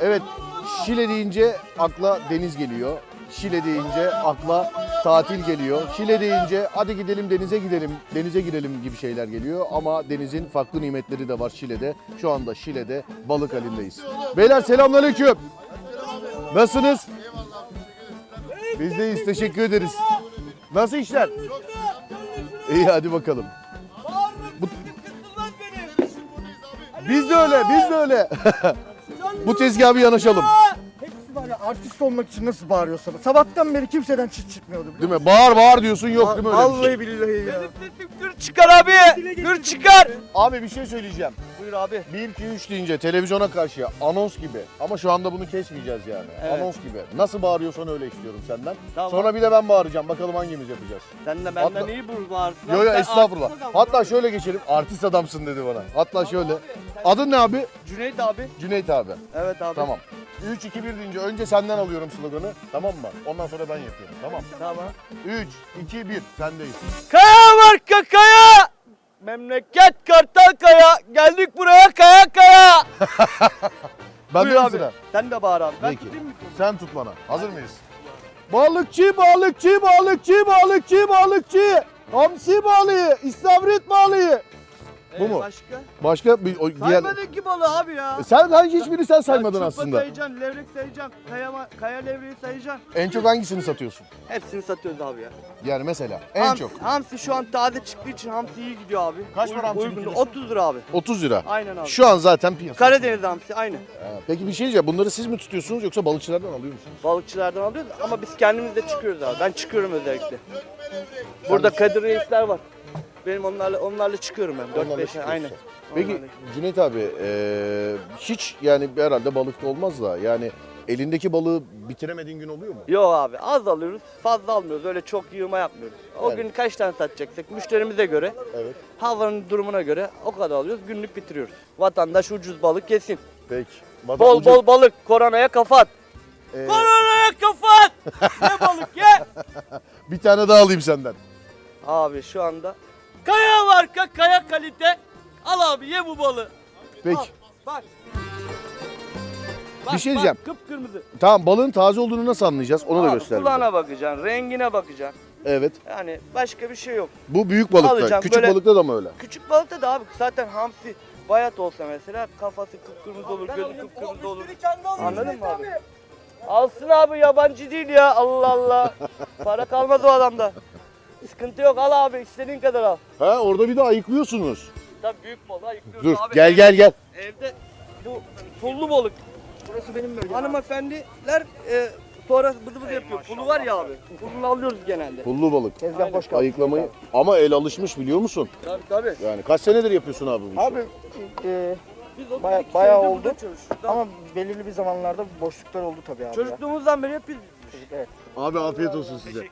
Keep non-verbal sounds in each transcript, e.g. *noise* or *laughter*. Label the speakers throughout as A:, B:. A: Evet, Şile deyince akla deniz geliyor. Şile deyince akla tatil geliyor. Şile deyince hadi gidelim denize gidelim, denize girelim gibi şeyler geliyor. Ama denizin farklı nimetleri de var Şile'de. Şu anda Şile'de balık halindeyiz. Beyler selamünaleyküm. Nasılsınız? Biz de iyiyiz, teşekkür ederiz. Nasıl işler? İyi hadi bakalım.
B: Bu... Kıttırlar beni.
A: Biz de öyle, biz de öyle.
B: Canlı
A: Bu tezgaha bir yanaşalım.
C: Hepsi bana artist olmak için nasıl bağırıyorsa. Sabahtan beri kimseden çıt çıkmıyordu.
A: Değil mi? Bağır bağır diyorsun yok değil mi öyle bir şey?
C: Vallahi billahi ya.
B: sesim gür çıkar abi. Gür çıkar.
A: Abi bir şey söyleyeceğim. Buyur abi. 1 2 3 deyince televizyona karşı anons gibi ama şu anda bunu kesmeyeceğiz yani. Anons gibi. Nasıl bağırıyorsan öyle istiyorum senden.
D: Tamam.
A: Sonra bir de ben bağıracağım. Bakalım hangimiz yapacağız.
D: Sen de benden
A: Hatta-
D: iyi burbarsın.
A: Yo yo estağfurullah. Hatta şöyle geçelim. Artist adamsın dedi bana. Hatta şöyle. Adın ne abi?
D: Cüneyt abi.
A: Cüneyt abi.
D: Evet abi.
A: Tamam. 3 2 1 deyince önce senden alıyorum sloganı. Tamam mı? Ondan sonra ben yapıyorum. Tamam.
D: Tamam.
A: 3 2 1 sendeyiz.
D: Kaya marka kaya. Memleket Kartal Kaya. Geldik buraya kaya kaya.
A: Ben
D: Buyur
A: de
D: abi.
A: sıra.
D: Sen de bağır abi. Ben
A: Peki.
D: tutayım mı? mikrofonu?
A: Sen tut bana. Hazır mıyız? Balıkçı, balıkçı, balıkçı, balıkçı, balıkçı. Hamsi balığı, istavrit balığı. Bu
D: Ee,
A: mu?
D: Başka?
A: Başka bir o, diğer...
D: Saymadın ki balı abi ya.
A: E Sen hangi hiçbirini sen saymadın
D: Ya çupa
A: aslında.
D: sayacaksın, levrek sayacaksın, kaya, ma- kaya levreği sayacaksın.
A: En çok hangisini satıyorsun?
D: Hepsini satıyoruz abi ya.
A: Yani mesela en
D: Hamsi-
A: çok.
D: Hamsi şu an taze çıktığı için hamsi iyi gidiyor abi.
A: Kaç para
D: Uygun-
A: hamsinin
D: uygun.
A: kilosu?
D: 30 lira abi.
A: 30 lira.
D: Aynen abi.
A: Şu an zaten piyasa.
D: Karadeniz hamsi aynı.
A: Ha, Peki bir şey diyeceğim. Bunları siz mi tutuyorsunuz yoksa balıkçılardan alıyor musunuz?
D: Balıkçılardan alıyoruz ama biz kendimiz de çıkıyoruz abi. Ben çıkıyorum özellikle. Burada Kadir Reisler var. Benim onlarla onlarla çıkıyorum ben.
A: Onlarla
D: 4 5
A: çıkıyorsun.
D: aynen.
A: Peki
D: Onlarla.
A: Cüneyt abi e, hiç yani herhalde balıkta olmaz da yani elindeki balığı bitiremediğin gün oluyor mu?
D: Yok abi az alıyoruz fazla almıyoruz öyle çok yığma yapmıyoruz. O
A: Evet.
D: gün kaç tane satacaksak müşterimize göre
A: Evet.
D: havanın durumuna göre o kadar alıyoruz günlük bitiriyoruz. Vatandaş ucuz balık yesin.
A: Peki. Bana
D: Bol
A: ucuz-
D: bol balık koronaya kafa at.
A: e,
D: Koronaya kafa at.
A: *laughs*
D: ne balık ye?
A: Bir tane daha alayım senden.
D: Abi şu anda kaya marka kaya kalite al abi ye bu balığı.
A: Peki.
D: Bak.
A: Bir şey diyeceğim.
D: Bak, kıpkırmızı.
A: Tamam balığın taze olduğunu nasıl anlayacağız? Ona da
D: Abi,
A: göster. bize.
D: Kulağına bakacaksın, rengine bakacaksın.
A: Evet.
D: Yani başka bir şey yok.
A: Bu büyük balıkta.
D: Alacağım,
A: Küçük
D: böyle-
A: balıkta da mı öyle?
D: Küçük balıkta da abi zaten hamsi bayat olsa mesela kafası kıpkırmızı olur, gözü kıpkırmızı olur. Anladın mı abi? Alsın abi yabancı değil ya Allah
A: *laughs*
D: Allah. Para kalmaz o adamda. Sıkıntı yok al abi istediğin kadar al.
A: Ha orada bir de ayıklıyorsunuz.
D: Tabii büyük balığa yüklüyoruz
A: Dur
D: abi.
A: gel gel gel.
D: Evde bu pullu balık. Burası benim bölgem. Hanımefendiler e, sonra bıdı bıdı yapıyor. Pulu var ya abi. Pulunu alıyoruz genelde.
A: Pullu balık.
D: Tezgah boş kaldı.
A: Ayıklamayı ama el alışmış biliyor musun?
D: Tabii tabii.
A: Yani kaç senedir yapıyorsun abi bu işi?
C: Abi e,
D: Biz otuz
C: Baya-
D: iki
C: bayağı
D: senedir
C: oldu.
D: burada çalışıyoruz. Tamam.
C: ama belirli bir zamanlarda boşluklar oldu tabii abi. ya.
D: Çocukluğumuzdan beri yapıyoruz.
A: Abi afiyet olsun size.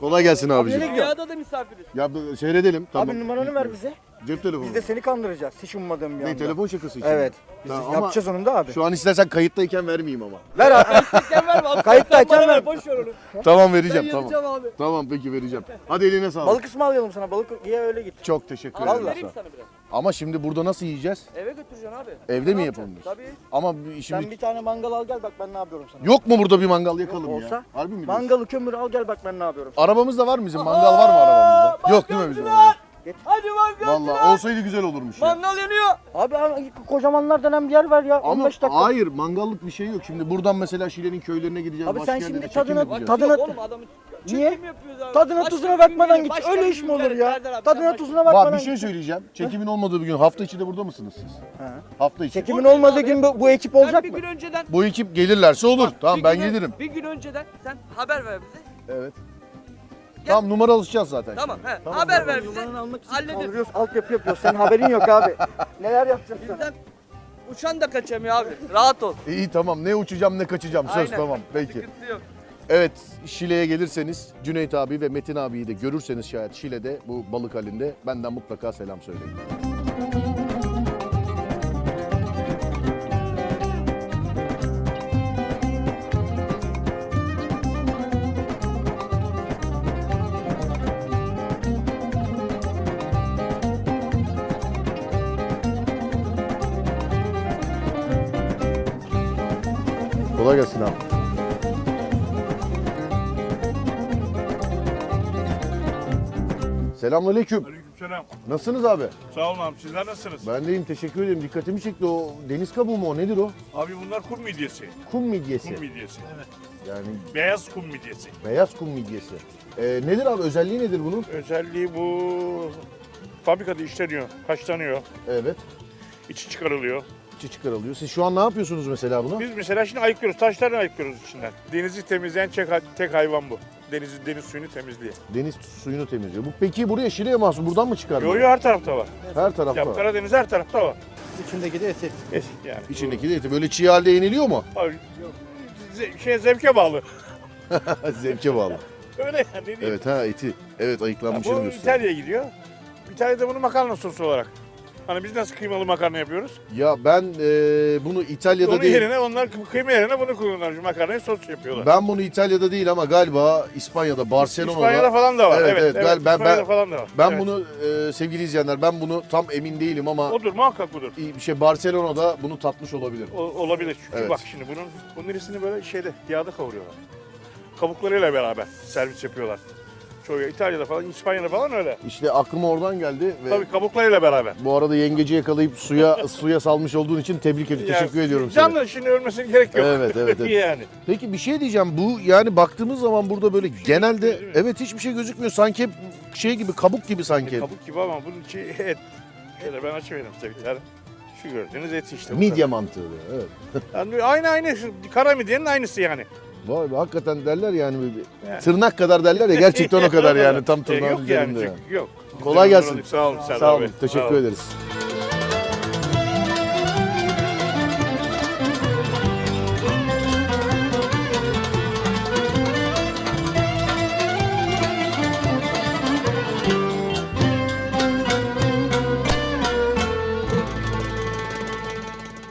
A: Kolay gelsin abiciğim.
D: Dünyada da misafiriz.
A: Ya bu- seyredelim tamam.
C: Abi numaranı ver bize.
A: Cep telefonu.
C: Biz de seni kandıracağız. Hiç ummadığım bir
A: Ne
C: anda.
A: telefon şakası için.
C: Evet.
A: mi?
C: Biz
A: Tamam, ama
C: yapacağız onu da abi.
A: Şu an istersen kayıttayken vermeyeyim ama.
C: Ver
A: *laughs*
C: abi.
D: Kayıttayken verme abi.
C: Kayıttayken
D: Kayıttayken
C: verme.
D: verme. Boş ver onu.
A: tamam
D: Ben
A: vereceğim tamam.
D: yanacağım abi.
A: Tamam peki vereceğim. Hadi eline sağlık.
C: balık ısmarlayalım sana. Balık ye öyle git.
A: Çok teşekkür
D: Abi
A: ederim.
D: vereyim sana biraz.
A: Ama şimdi burada nasıl yiyeceğiz?
D: Eve götüreceksin abi.
A: Evde mi
D: Ne yapacaksın?
A: yapalım? biz?
D: Tabii.
A: Ama bir- şimdi
C: Sen bir tane mangal al gel bak ben ne yapıyorum sana.
A: Yok mu burada bir mangal yakalım
C: Yok,
A: ya?
C: olsa
A: Harbi mi? diyorsun?
C: Mangalı kömür al gel bak ben ne yapıyorum.
A: Arabamız da var mı bizim? Mangal var mı arabamızda?
D: Aa,
A: Yok değil mi bizim?
D: mangalcılar!
A: arabamızda?
D: Hadi mangal.
A: Vallahi olsaydı güzel olurmuş ya.
D: Mangal yanıyor.
C: Abi abi, kocamanlar denen bir yer var ya.
A: Ama
C: 15 dakika.
A: hayır mangallık bir şey yok. Şimdi buradan mesela Şile'nin köylerine gideceğiz.
C: Abi sen
A: başka yerlere
C: şimdi
A: çekim
C: tadına-
A: yapacağız.
C: tad- Tadına-
D: Yok oğlum adamı
C: Niye?
D: çekim yapıyoruz abi.
C: Tadına
D: Başka
C: tuzuna
D: bir
C: bakmadan
D: gün,
C: git.
D: başka
C: Öyle
D: bir
C: iş mi
D: gün
C: olur
D: gel.
C: ya?
D: Serdar abi, sen
C: Tadına
D: başla.
C: tuzuna
A: Bak
C: bakmadan
A: bir şey
C: git.
A: söyleyeceğim. Çekimin olmadığı bir gün hafta içi de burada mısınız siz?
C: Ha.
A: Hafta içi.
C: Çekimin olmadığı gün bu, bu ekip
D: Sen
C: olacak
D: bir
C: mı?
D: gün önceden
A: Bu ekip gelirlerse olur. tamam
D: bir
A: ben
D: gün-
A: gelirim.
D: Bir gün önceden sen haber ver bize.
A: Evet. Tamam numara alışacağız zaten.
D: Tamam he. haber ver bize.
C: Numaranı almak için
D: Hallederiz.
C: kaldırıyoruz, altyapı yapıyoruz. Senin haberin yok abi. Neler yapacaksın?
D: Bizden uçan da kaçamıyor abi. Rahat ol.
A: *laughs* İyi tamam ne uçacağım ne kaçacağım söz
D: Aynen.
A: tamam peki.
D: Sıkıntı yok.
A: Evet Şile'ye gelirseniz Cüneyt abi ve Metin abiyi de görürseniz şayet Şile'de bu balık halinde benden mutlaka selam söyleyin. Kolay gelsin abi. Selamünaleyküm.
E: Aleykümselam.
A: Nasılsınız abi?
E: Sağ olun abi. Sizler nasılsınız?
A: Ben deyim teşekkür ederim. Dikkatimi çekti o deniz kabuğu mu o nedir o?
E: Abi bunlar kum midyesi.
A: Kum
E: Kum
A: midyesi.
E: midyesi.
A: Yani
E: Beyaz kum midyesi.
A: beyaz kum midyesi. Ee, nedir abi özelliği nedir bunun?
E: Özelliği bu fabrikada işleniyor, haşlanıyor,
A: Evet.
E: içi çıkarılıyor.
A: içi çıkarılıyor. Siz şu an ne yapıyorsunuz mesela bunu?
E: Biz mesela şimdi ayıklıyoruz, taşlarını ayıklıyoruz içinden. Denizi temizleyen tek, tek hayvan bu. Denizi, deniz suyunu temizliyor.
A: Deniz suyunu temizliyor. Bu peki buraya Şile'ye mahsus buradan mı çıkarılıyor?
E: Yo yo her tarafta var.
A: Her tarafta
E: Ya
A: var.
E: Karadeniz her tarafta var.
C: İçindeki de eti.
E: Eski yani.
A: İçindeki de eti böyle çiğ halde yeniliyor mu? *laughs*
E: Abi, ze- şey zevke bağlı.
A: Zevke bağlı.
E: Öyle yani. ne diyeyim.
A: Evet ha eti. Evet ayıklanmış
E: bu
A: yerin üstüne.
E: İtalya'ya gidiyor. İtalya'da bunu makarna sosu olarak. Hani biz nasıl kıymalı makarna yapıyoruz?
A: Ya ben eee, bunu İtalya'da
E: Onun
A: değil.
E: yerine onlar kı- kıyma yerine bunu kullanıyorlar. Şu Makarnayı sos yapıyorlar.
A: Ben bunu İtalya'da değil ama galiba İspanya'da, Barcelona'da.
E: İspanya'da falan da var.
A: Evet,
E: Evet, evet.
A: evet. Ben- ben-
E: İspanya'da
A: ben-
E: falan da var.
A: Ben
E: Evet.
A: bunu eee, sevgili izleyenler ben bunu tam emin değilim ama
E: Odur muhakkak budur.
A: bir şey Barcelona'da bunu tatmış olabilir.
E: O- olabilir. Çünkü
A: Evet.
E: bak şimdi bunun bunun irisini böyle şeyde yağda kavuruyorlar. Kabuklarıyla beraber servis yapıyorlar. Çoğu İtalya'da falan, İspanya'da falan öyle.
A: İşte aklıma oradan geldi ve
E: Tabii kabuklarıyla beraber.
A: bu arada yengeci yakalayıp suya suya salmış olduğun için tebrik ediyorum.
E: Yani
A: Teşekkür ediyorum sana.
E: Canlı şimdi ölmesine gerek yok.
A: Evet,
E: *laughs*
A: evet, evet.
E: yani.
A: Peki bir şey diyeceğim. Bu yani baktığımız zaman burada böyle genelde
E: şey gözükmüyor, değil
A: evet hiçbir şey gözükmüyor. Sanki hep şey gibi kabuk gibi sanki.
E: E, Kabuk gibi ama bunun içi et. Şöyle ben açıvereyim size bir tane. Şu gördüğünüz et işte. bu
A: Midye mantığı. Evet. *laughs*
E: kadar. Yani aynı aynı. şu Kara midyenin aynısı yani.
A: Vay be hakikaten derler yani bir- bir-
E: Yani.
A: tırnak kadar derler ya gerçekten o kadar yani tam
E: *laughs* E,
A: tırnağın
E: yok yani,
A: üzerinde. yani.
E: çünkü yok.
A: Kolay
E: Güzel
A: gelsin.
E: olur. Sağ olun Serdar
A: Sağ olun.
E: Bey. Sağ
A: Teşekkür
E: olun.
A: ederiz.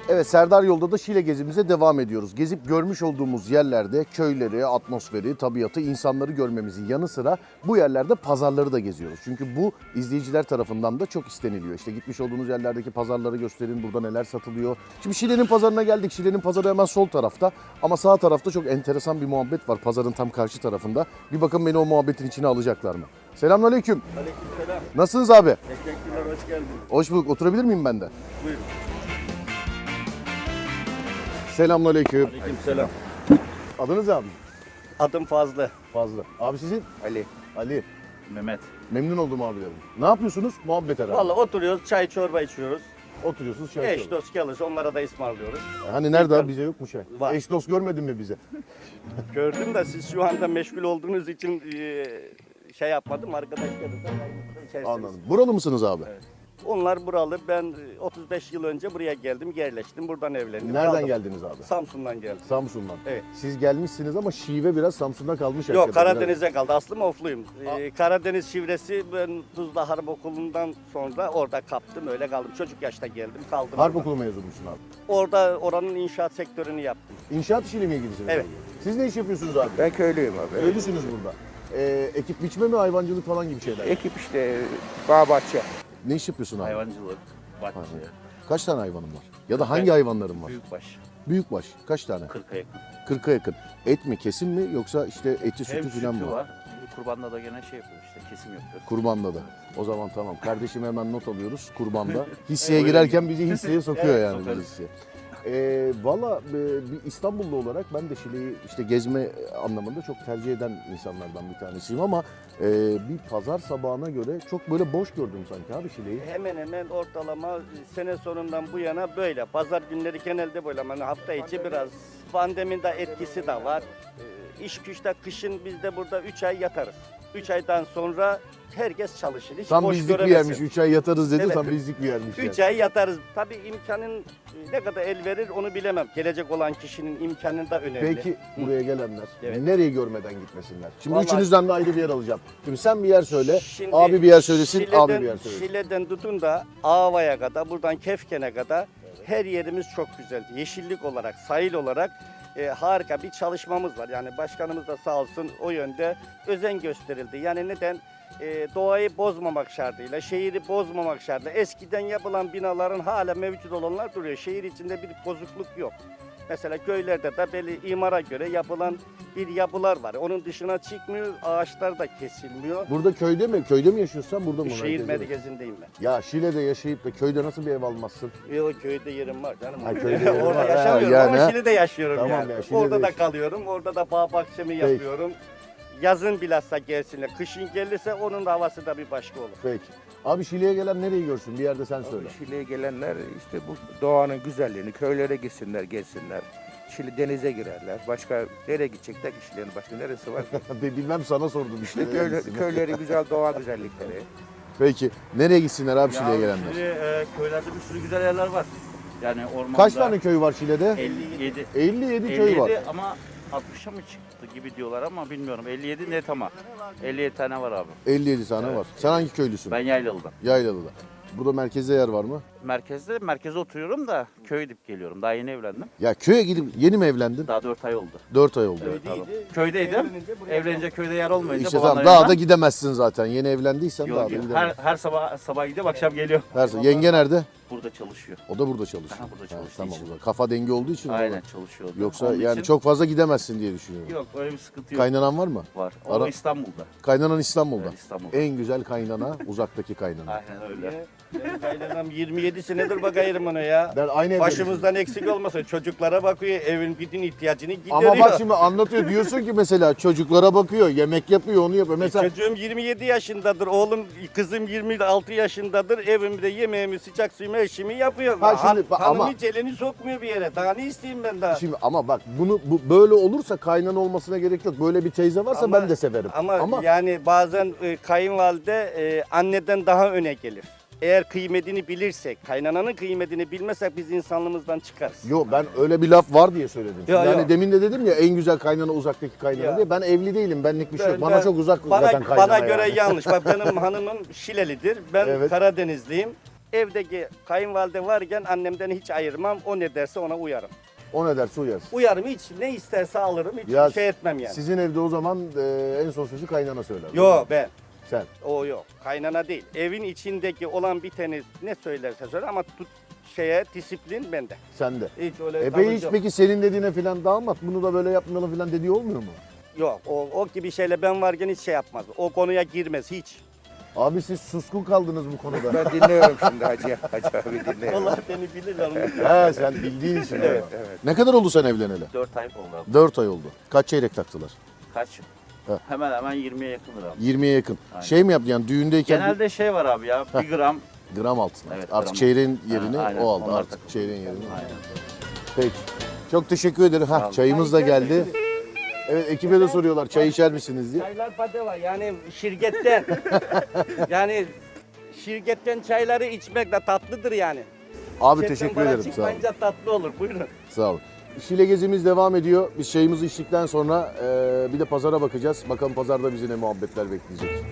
A: Evet Serdar Yolda da Şile gezimize devam ediyoruz. Gezip görmüş olduğumuz yerlerde köyleri, atmosferi, tabiatı, insanları görmemizin yanı sıra bu yerlerde pazarları da geziyoruz. Çünkü bu izleyiciler tarafından da çok isteniliyor. İşte gitmiş olduğunuz yerlerdeki pazarları gösterin, burada neler satılıyor. Şimdi Şile'nin pazarına geldik. Şile'nin pazarı hemen sol tarafta ama sağ tarafta çok enteresan bir muhabbet var pazarın tam karşı tarafında. Bir bakın beni o muhabbetin içine alacaklar mı? Selamünaleyküm. Aleykümselam. Nasılsınız abi?
F: Teşekkürler, hoş geldiniz.
A: Hoş bulduk. Oturabilir miyim ben de?
F: Buyurun.
A: Selamünaleyküm.
F: Aleykümselam.
A: Adınız abi?
F: Adım Fazlı.
A: Fazla. Abi sizin?
F: Ali.
A: Ali.
F: Mehmet.
A: Memnun oldum abilerim. Ne yapıyorsunuz? Muhabbet herhalde.
F: Vallahi oturuyoruz, çay çorba içiyoruz.
A: Oturuyorsunuz çay
F: Eş
A: içiyorsunuz.
F: dost gelirse onlara da ısmarlıyoruz. *laughs*
A: Hani nerede abi? Bize yok mu çay?
F: Var.
A: Eş dost görmedin
F: *laughs*
A: mi bize?
F: Gördüm de siz şu anda meşgul olduğunuz için e, şey yapmadım. Arkadaşlarınızla yayınımızda içersiniz.
A: Anladım. Buralı mısınız abi?
F: Onlar buralı. Ben e, 35 yıl önce buraya geldim, yerleştim. Buradan evlendim.
A: Nereden
F: Kaldım.
A: geldiniz abi?
F: Samsun'dan geldim.
A: Samsun'dan.
F: Evet.
A: Siz gelmişsiniz ama şive biraz Samsun'da kalmış.
F: Yok
A: hakikaten.
F: Karadeniz'den kaldı. Aslım ofluyum. E, Karadeniz şivresi ben Tuzla Harp Okulu'ndan sonra orada kaptım. Öyle kaldım. Çocuk yaşta geldim. Kaldım.
A: Harp
F: orada.
A: okulu mezunusun abi.
F: Orada oranın inşaat sektörünü yaptım.
A: İnşaat işiyle mi ilgilisiniz?
F: Evet.
A: abi? Siz ne iş yapıyorsunuz abi?
G: Ben köylüyüm abi.
A: Köylüsünüz burada. Ee, ekip biçme mi, hayvancılık falan gibi şeyler?
G: Ekip işte bağ bahçe.
A: ne iş yapıyorsun abi?
F: Hayvancılık, bahçe,
A: Hayvan. Kaç tane hayvanın var? Ya da hangi hayvanların var?
F: büyükbaş,
A: Büyükbaş. Kaç tane?
F: kırka yakın.
A: 40'a yakın. Et mi, kesim mi yoksa işte eti, sütü
F: Hem
A: falan mı?
F: sütü
A: var?
F: var. Kurbanla da gene şey yapıyoruz işte kesim yapıyoruz.
A: Kurban'da da. O zaman tamam. Kardeşim hemen not alıyoruz
F: *laughs*
A: Kurban'da. Hisseye girerken bizi hisseye sokuyor
F: Evet,
A: yani
F: sokarız.
A: bizi hisseye. Ee, Valla e, bir İstanbullu olarak ben de Şile'yi işte gezme anlamında çok tercih eden insanlardan bir tanesiyim ama e, bir pazar sabahına göre çok böyle boş gördüm sanki abi Şile'yi.
F: Hemen hemen ortalama e, sene sonundan bu yana böyle. Pazar günleri genelde böyle. Yani hafta içi biraz pandeminin de etkisi de var. Ee, İş güçte kışın biz de burada 3 ay yatarız. 3 aydan sonra herkes çalışır. Hiç
A: Tam
F: boş
A: bizlik bir
F: göremezsin.
A: yermiş. 3 ay yatarız dedi
F: Evet.
A: tam bizlik bir yermiş. yani.
F: Üç ay yatarız. Tabii imkanın e, ne kadar el verir onu bilemem. Gelecek olan kişinin imkanı da önemli.
A: Peki buraya gelenler
F: Evet.
A: nereyi görmeden gitmesinler? Şimdi
F: Vallahi-
A: üçünüzden de ayrı bir yer alacağım. Şimdi sen bir yer söyle,
F: Şimdi
A: abi bir yer söylesin,
F: Şile'den-
A: abi bir yer söylesin.
F: Şile'den tutun da Ava'ya kadar, buradan Kefken'e kadar her yerimiz çok güzel. Yeşillik olarak, sahil olarak e, harika bir çalışmamız var. Yani başkanımız da sağ olsun o yönde özen gösterildi. Yani neden? E, doğayı bozmamak şartıyla, şehri bozmamak şartıyla. Eskiden yapılan binaların hala mevcut olanlar duruyor. Şehir içinde bir bozukluk yok. Mesela köylerde de belli imara göre yapılan bir yapılar var. Onun dışına çıkmıyor, ağaçlar da kesilmiyor.
A: Burada köyde mi? Köyde mi yaşıyorsun sen burada mı?
F: Şehir
A: Merkezde mi?
F: merkezindeyim ben.
A: Ya Şile'de yaşayıp da köyde nasıl bir ev almazsın?
F: Yok köyde yerim var canım.
A: Ha, köyde yerin
F: *laughs* orada
A: var. Ha,
F: yaşamıyorum
A: yani.
F: ama Şili'de yaşıyorum
A: Tamam
F: yani.
A: ya, Şili'de
F: orada da
A: yaşıyorsun.
F: kalıyorum. Orada da bağ bahçemi yapıyorum. Yazın bilhassa gelsinler. Kışın gelirse onun da havası da bir başka olur.
A: Peki. Abi Şile'ye gelen nereyi görsün? Bir yerde sen söyle.
G: Abi Şile'ye gelenler işte bu doğanın güzelliğini
A: *laughs*
G: köylere gitsinler, gelsinler. Şili denize girerler. Başka nereye gidecekler ki Şili'nin başka neresi var? ki?
A: Be- Bilmem sana sordum işte.
G: İşte köyle, köyleri güzel, doğa güzellikleri.
A: Peki. Nereye gitsinler abi Şile'ye gelenler?
F: e, köylerde bir sürü güzel yerler var. Yani ormanda
A: Kaç tane köy var Şile'de?
F: 57
A: 57 köy var.
F: ama 60'a mı çıktı gibi diyorlar ama bilmiyorum. 57 net ama. 57 tane var abi.
A: 57 tane var. Sen hangi köylüsün?
F: Yaylalı'dan.
A: Yaylalı'da. Burada merkezde yer var mı?
F: Merkezde, merkeze oturuyorum da köy gidip geliyorum. Daha yeni evlendim.
A: Ya köye gidip yeni mi evlendin?
F: Daha 4 ay oldu.
A: 4 ay oldu.
F: Köydeydim. Evlenince köyde yer olmayınca
A: İşte
F: babamların
A: tamam daha da
F: yanına
A: gidemezsin zaten. Yeni evlendiysen
F: yol
A: daha da
F: gidiyor.
A: gidemezsin.
F: her, her sabah sabah gidiyor akşam geliyor.
A: Her... Yenge nerede?
F: Burada çalışıyor.
A: O da burada çalışıyor.
F: Aha, burada
A: Ha,
F: çalıştığı
A: tamam
F: için.
A: o zaman. Kafa dengi olduğu için. o zaman.
F: Aynen çalışıyor.
A: Yoksa
F: Onun
A: yani
F: için-
A: çok fazla gidemezsin diye düşünüyorum.
F: Yok öyle bir sıkıntı yok.
A: Kaynanan var mı?
F: var. O
A: Ara-
F: İstanbul'da.
A: Kaynanan İstanbul'da.
F: Evet, İstanbul'da.
A: En
F: *laughs*
A: güzel kaynana uzaktaki kaynana.
F: Aynen öyle. Kaynanam 27 senedir bak ayırmana ya.
A: Ben aynı evde
F: Başımızdan eksik olmasın. Çocuklara bakıyor, evin gidin ihtiyacını gideriyor.
A: Ama bak şimdi anlatıyor diyorsun ki mesela çocuklara bakıyor, yemek yapıyor, onu
F: E,
A: yapıyor. Mesela
F: Çocuğum 27 yaşındadır, oğlum kızım 26 yaşındadır. Evimde yemeğimi, sıcak suyumu, eşimi yapıyor.
A: Ha şimdi bak
F: Hanım
A: ama-
F: hiç elini sokmuyor bir yere. Daha ne isteyeyim ben daha?
A: şimdi ama bak bunu bu, böyle olursa kaynana olmasına gerek yok. Böyle bir teyze varsa
F: Ama-
A: ben de severim.
F: Ama, yani bazen e, kayınvalide e, anneden daha öne gelir. Eğer kıymetini bilirsek, kaynananın kıymetini bilmezsek biz insanlığımızdan çıkarız.
A: Yo ben öyle bir laf var diye söyledim.
F: Ya,
A: yani
F: ya.
A: demin de dedim ya en güzel kaynana uzaktaki kaynana
F: Ya.
A: diye. Ben evli değilim benlik bir şey yok.
F: Ben-
A: Bana
F: ben-
A: çok uzak
F: bana,
A: zaten kaynana
F: Bana göre
A: yani.
F: yanlış. Bak benim *laughs* hanımım Şilelidir. Ben
A: Evet.
F: Karadenizliyim. Evdeki kayınvalide varken annemden hiç ayırmam. O ne derse ona uyarım.
A: *laughs* O ne derse uyarsın.
F: Uyarım hiç ne isterse alırım. Hiç
A: Ya,
F: şey etmem yani.
A: Sizin evde o zaman e, en son sözü kaynana söyler.
F: Yok ben.
A: Sen.
F: O yok. Kaynana değil. Evin içindeki olan biteni ne söylerse söyler ama tut şeye disiplin bende.
A: Sen de.
F: Hiç öyle
A: Epey
F: davranış
A: hiç
F: yok.
A: E, peki senin dediğine filan damat bunu da böyle yapmayalım filan dediği olmuyor mu?
F: Yok o, o gibi şeyle ben varken hiç şey yapmaz. O konuya girmez hiç.
A: Abi siz suskun kaldınız bu konuda.
G: Ben
A: *laughs*
G: dinliyorum şimdi Hacı, Hacı abi dinliyorum.
F: Allah beni bilir lan.
A: He sen bildiğin için.
F: Evet,
A: ama. Ne kadar oldu sen evleneli?
F: 4 ay oldu abi.
A: 4 ay oldu. Kaç çeyrek taktılar?
F: Kaç?
A: He.
F: Hemen hemen 20'ye yakındır abi.
A: 20'ye yakın.
F: Aynen.
A: Şey mi yaptı yani düğündeyken bir
F: Genelde şey var abi ya. 1 gram
A: gram altın.
F: Evet,
A: artık
F: gram
A: çeyreğin yerini
F: Ha, aynen,
A: o aldı
F: onlar
A: artık
F: takıldı.
A: çeyreğin yerini.
F: Aynen.
A: Peki. Çok teşekkür ederim. Ha çayımız da geldi. Evet ekibe de soruyorlar çay içer misiniz diye.
F: Çaylar var yani şirketten. yani şirketten çayları içmek de tatlıdır yani.
A: Abi
F: Şirketten
A: teşekkür
F: para
A: ederim sağ olun.
F: Çıkmayınca tatlı olur buyurun.
A: Sağ olun. Şile gezimiz devam ediyor. Biz çayımızı içtikten sonra eee, bir de pazara bakacağız. Bakalım pazarda bizi ne muhabbetler bekleyecek.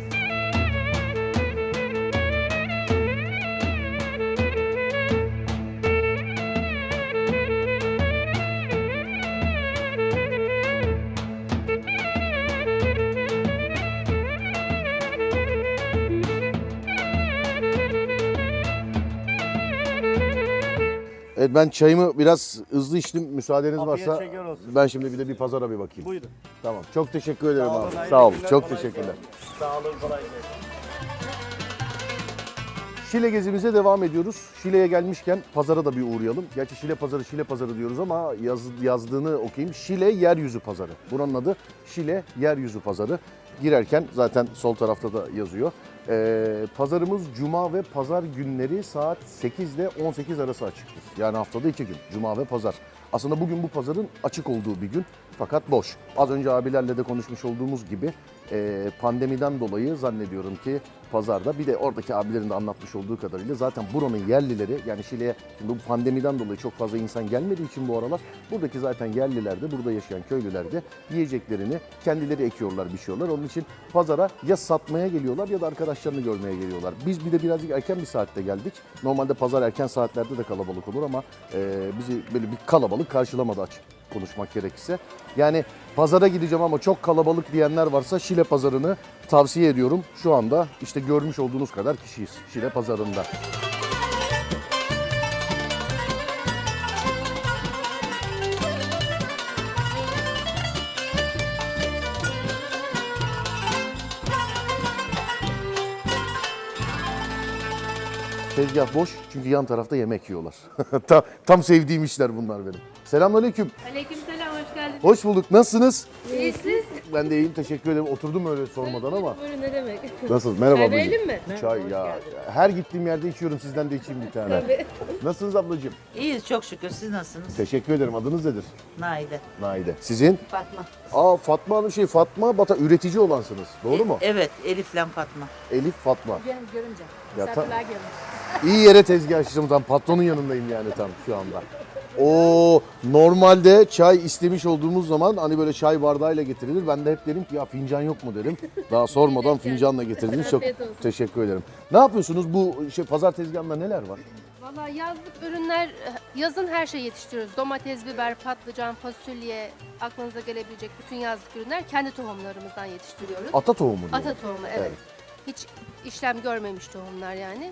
A: Evet ben çayımı biraz hızlı içtim. Müsaadeniz
F: Afiyet
A: varsa
F: şeker olsun.
A: ben şimdi bir de bir pazara bir bakayım.
F: Buyurun.
A: Tamam. Çok teşekkür ederim abi.
F: hayırlı
A: Sağ olun.
F: günler,
A: Çok
F: kolay
A: teşekkürler.
F: Sağ olun kolay gelsin.
A: Şile gezimize devam ediyoruz. Şile'ye gelmişken pazara da bir uğrayalım. Gerçi Şile pazarı Şile pazarı diyoruz ama yaz, yazdığını okuyayım. Şile yeryüzü pazarı. Buranın adı Şile yeryüzü pazarı. Girerken zaten sol tarafta da yazıyor. Ee, pazarımız cuma ve pazar günleri saat 8 ile 18 arası açıktır. Yani haftada iki gün cuma ve pazar. Aslında bugün bu pazarın açık olduğu bir gün fakat boş. Az önce abilerle de konuşmuş olduğumuz gibi e, pandemiden dolayı zannediyorum ki pazarda bir de oradaki abilerin de anlatmış olduğu kadarıyla zaten buranın yerlileri yani Şile'ye şimdi bu pandemiden dolayı çok fazla insan gelmediği için bu aralar buradaki zaten yerliler de burada yaşayan köylüler de yiyeceklerini kendileri ekiyorlar biçiyorlar. Onun için pazara ya satmaya geliyorlar ya da arkadaşlarını görmeye geliyorlar. Biz bir de birazcık erken bir saatte geldik. Normalde pazar erken saatlerde de kalabalık olur ama e, bizi böyle bir kalabalık karşılamadı açık konuşmak gerekirse. Yani pazara gideceğim ama çok kalabalık diyenler varsa Şile pazarını tavsiye ediyorum. Şu anda işte görmüş olduğunuz kadar kişiyiz Şile pazarında. Tezgah boş çünkü yan tarafta yemek yiyorlar. *laughs* tam, tam sevdiğim işler bunlar benim. Selamünaleyküm.
H: Aleykümselam hoş geldiniz.
A: Hoş bulduk. Nasılsınız?
H: İyi siz?
A: Ben de iyiyim. Teşekkür ederim. Oturdum öyle sormadan ama.
H: Buyurun ne demek?
A: Nasılsınız? Merhaba
H: Çay
A: ablacığım.
H: verelim mi?
A: Çay ya. Her gittiğim yerde içiyorum. Sizden de içeyim bir tane.
H: Tabii.
A: Nasılsınız ablacığım?
I: İyiyiz çok şükür. Siz nasılsınız?
A: Teşekkür ederim. Adınız nedir?
I: Naide.
A: Naide. Sizin?
I: Fatma.
A: Aa Fatma Hanım şey Fatma Bata üretici olansınız. Doğru mu?
I: Evet Elif'le Fatma.
A: Elif Fatma.
H: Görünce.
A: Ya ta-
H: Misafirler görünce.
A: İyi yere tezgah açtım tam patronun yanındayım yani tam şu anda. O normalde çay istemiş olduğumuz zaman hani böyle çay bardağıyla getirilir. Ben de hep derim ki ya fincan yok mu derim. Daha sormadan fincanla getirdiniz. Çok
H: Afiyet olsun.
A: teşekkür ederim. Ne yapıyorsunuz bu şey pazar tezgahında neler var?
H: Valla yazlık ürünler, yazın her şeyi yetiştiriyoruz. Domates, biber, patlıcan, fasulye, aklınıza gelebilecek bütün yazlık ürünler kendi tohumlarımızdan yetiştiriyoruz.
A: Ata tohumu diyor.
H: Ata tohumu evet.
A: Evet.
H: Hiç işlem görmemiş tohumlar yani.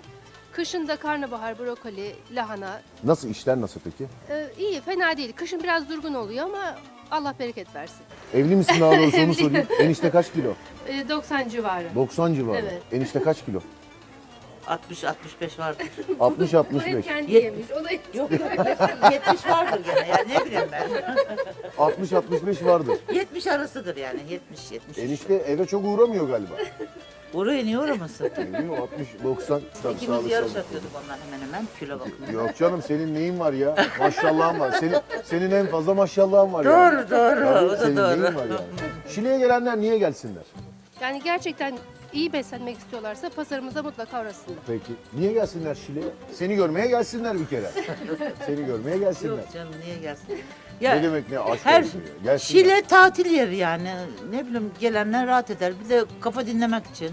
H: Kışın da karnabahar, brokoli, lahana.
A: Nasıl işler nasıl peki?
H: Ee, iyi, fena değil. Kışın biraz durgun oluyor ama Allah bereket versin.
A: Evli misin daha doğrusu
H: *laughs*
A: onu sorayım. Enişte kaç kilo?
H: Ee, 90 civarı.
A: 90 civarı.
H: Evet.
A: Enişte kaç kilo?
I: 60-65 vardır. *laughs*
A: 60-65.
H: Burayı kendi
I: Yet-
H: yemiş. O da
I: Yok 70 vardır gene ya ne bileyim ben.
A: 60-65 vardır.
I: 70 arasıdır yani 70-70.
A: Enişte eve çok
H: *laughs*
A: uğramıyor galiba.
I: Buraya niye uğramasın?
A: Değil mi? 60-90.
I: İkimiz yarış atıyorduk onlar hemen hemen kilo bakımında.
A: Yok canım senin neyin var ya? Maşallahın var. Senin, senin en fazla maşallahın var yani.
I: Doğru doğru
A: Tabii,
I: o da
A: senin neyin var
I: doğru.
A: yani? Şile'ye gelenler niye gelsinler?
H: Yani gerçekten iyi beslenmek istiyorlarsa pazarımıza mutlaka uğrasınlar. *laughs*
A: Peki. Niye gelsinler Şile'ye? Seni görmeye gelsinler bir kere. Seni görmeye gelsinler.
I: Yok canım niye gelsin?
A: ne demek ne aşk
I: her-
A: olsun ya? Gelsinler.
I: Şile tatil yeri yani. Ne bileyim gelenler rahat eder. Bir de kafa dinlemek için.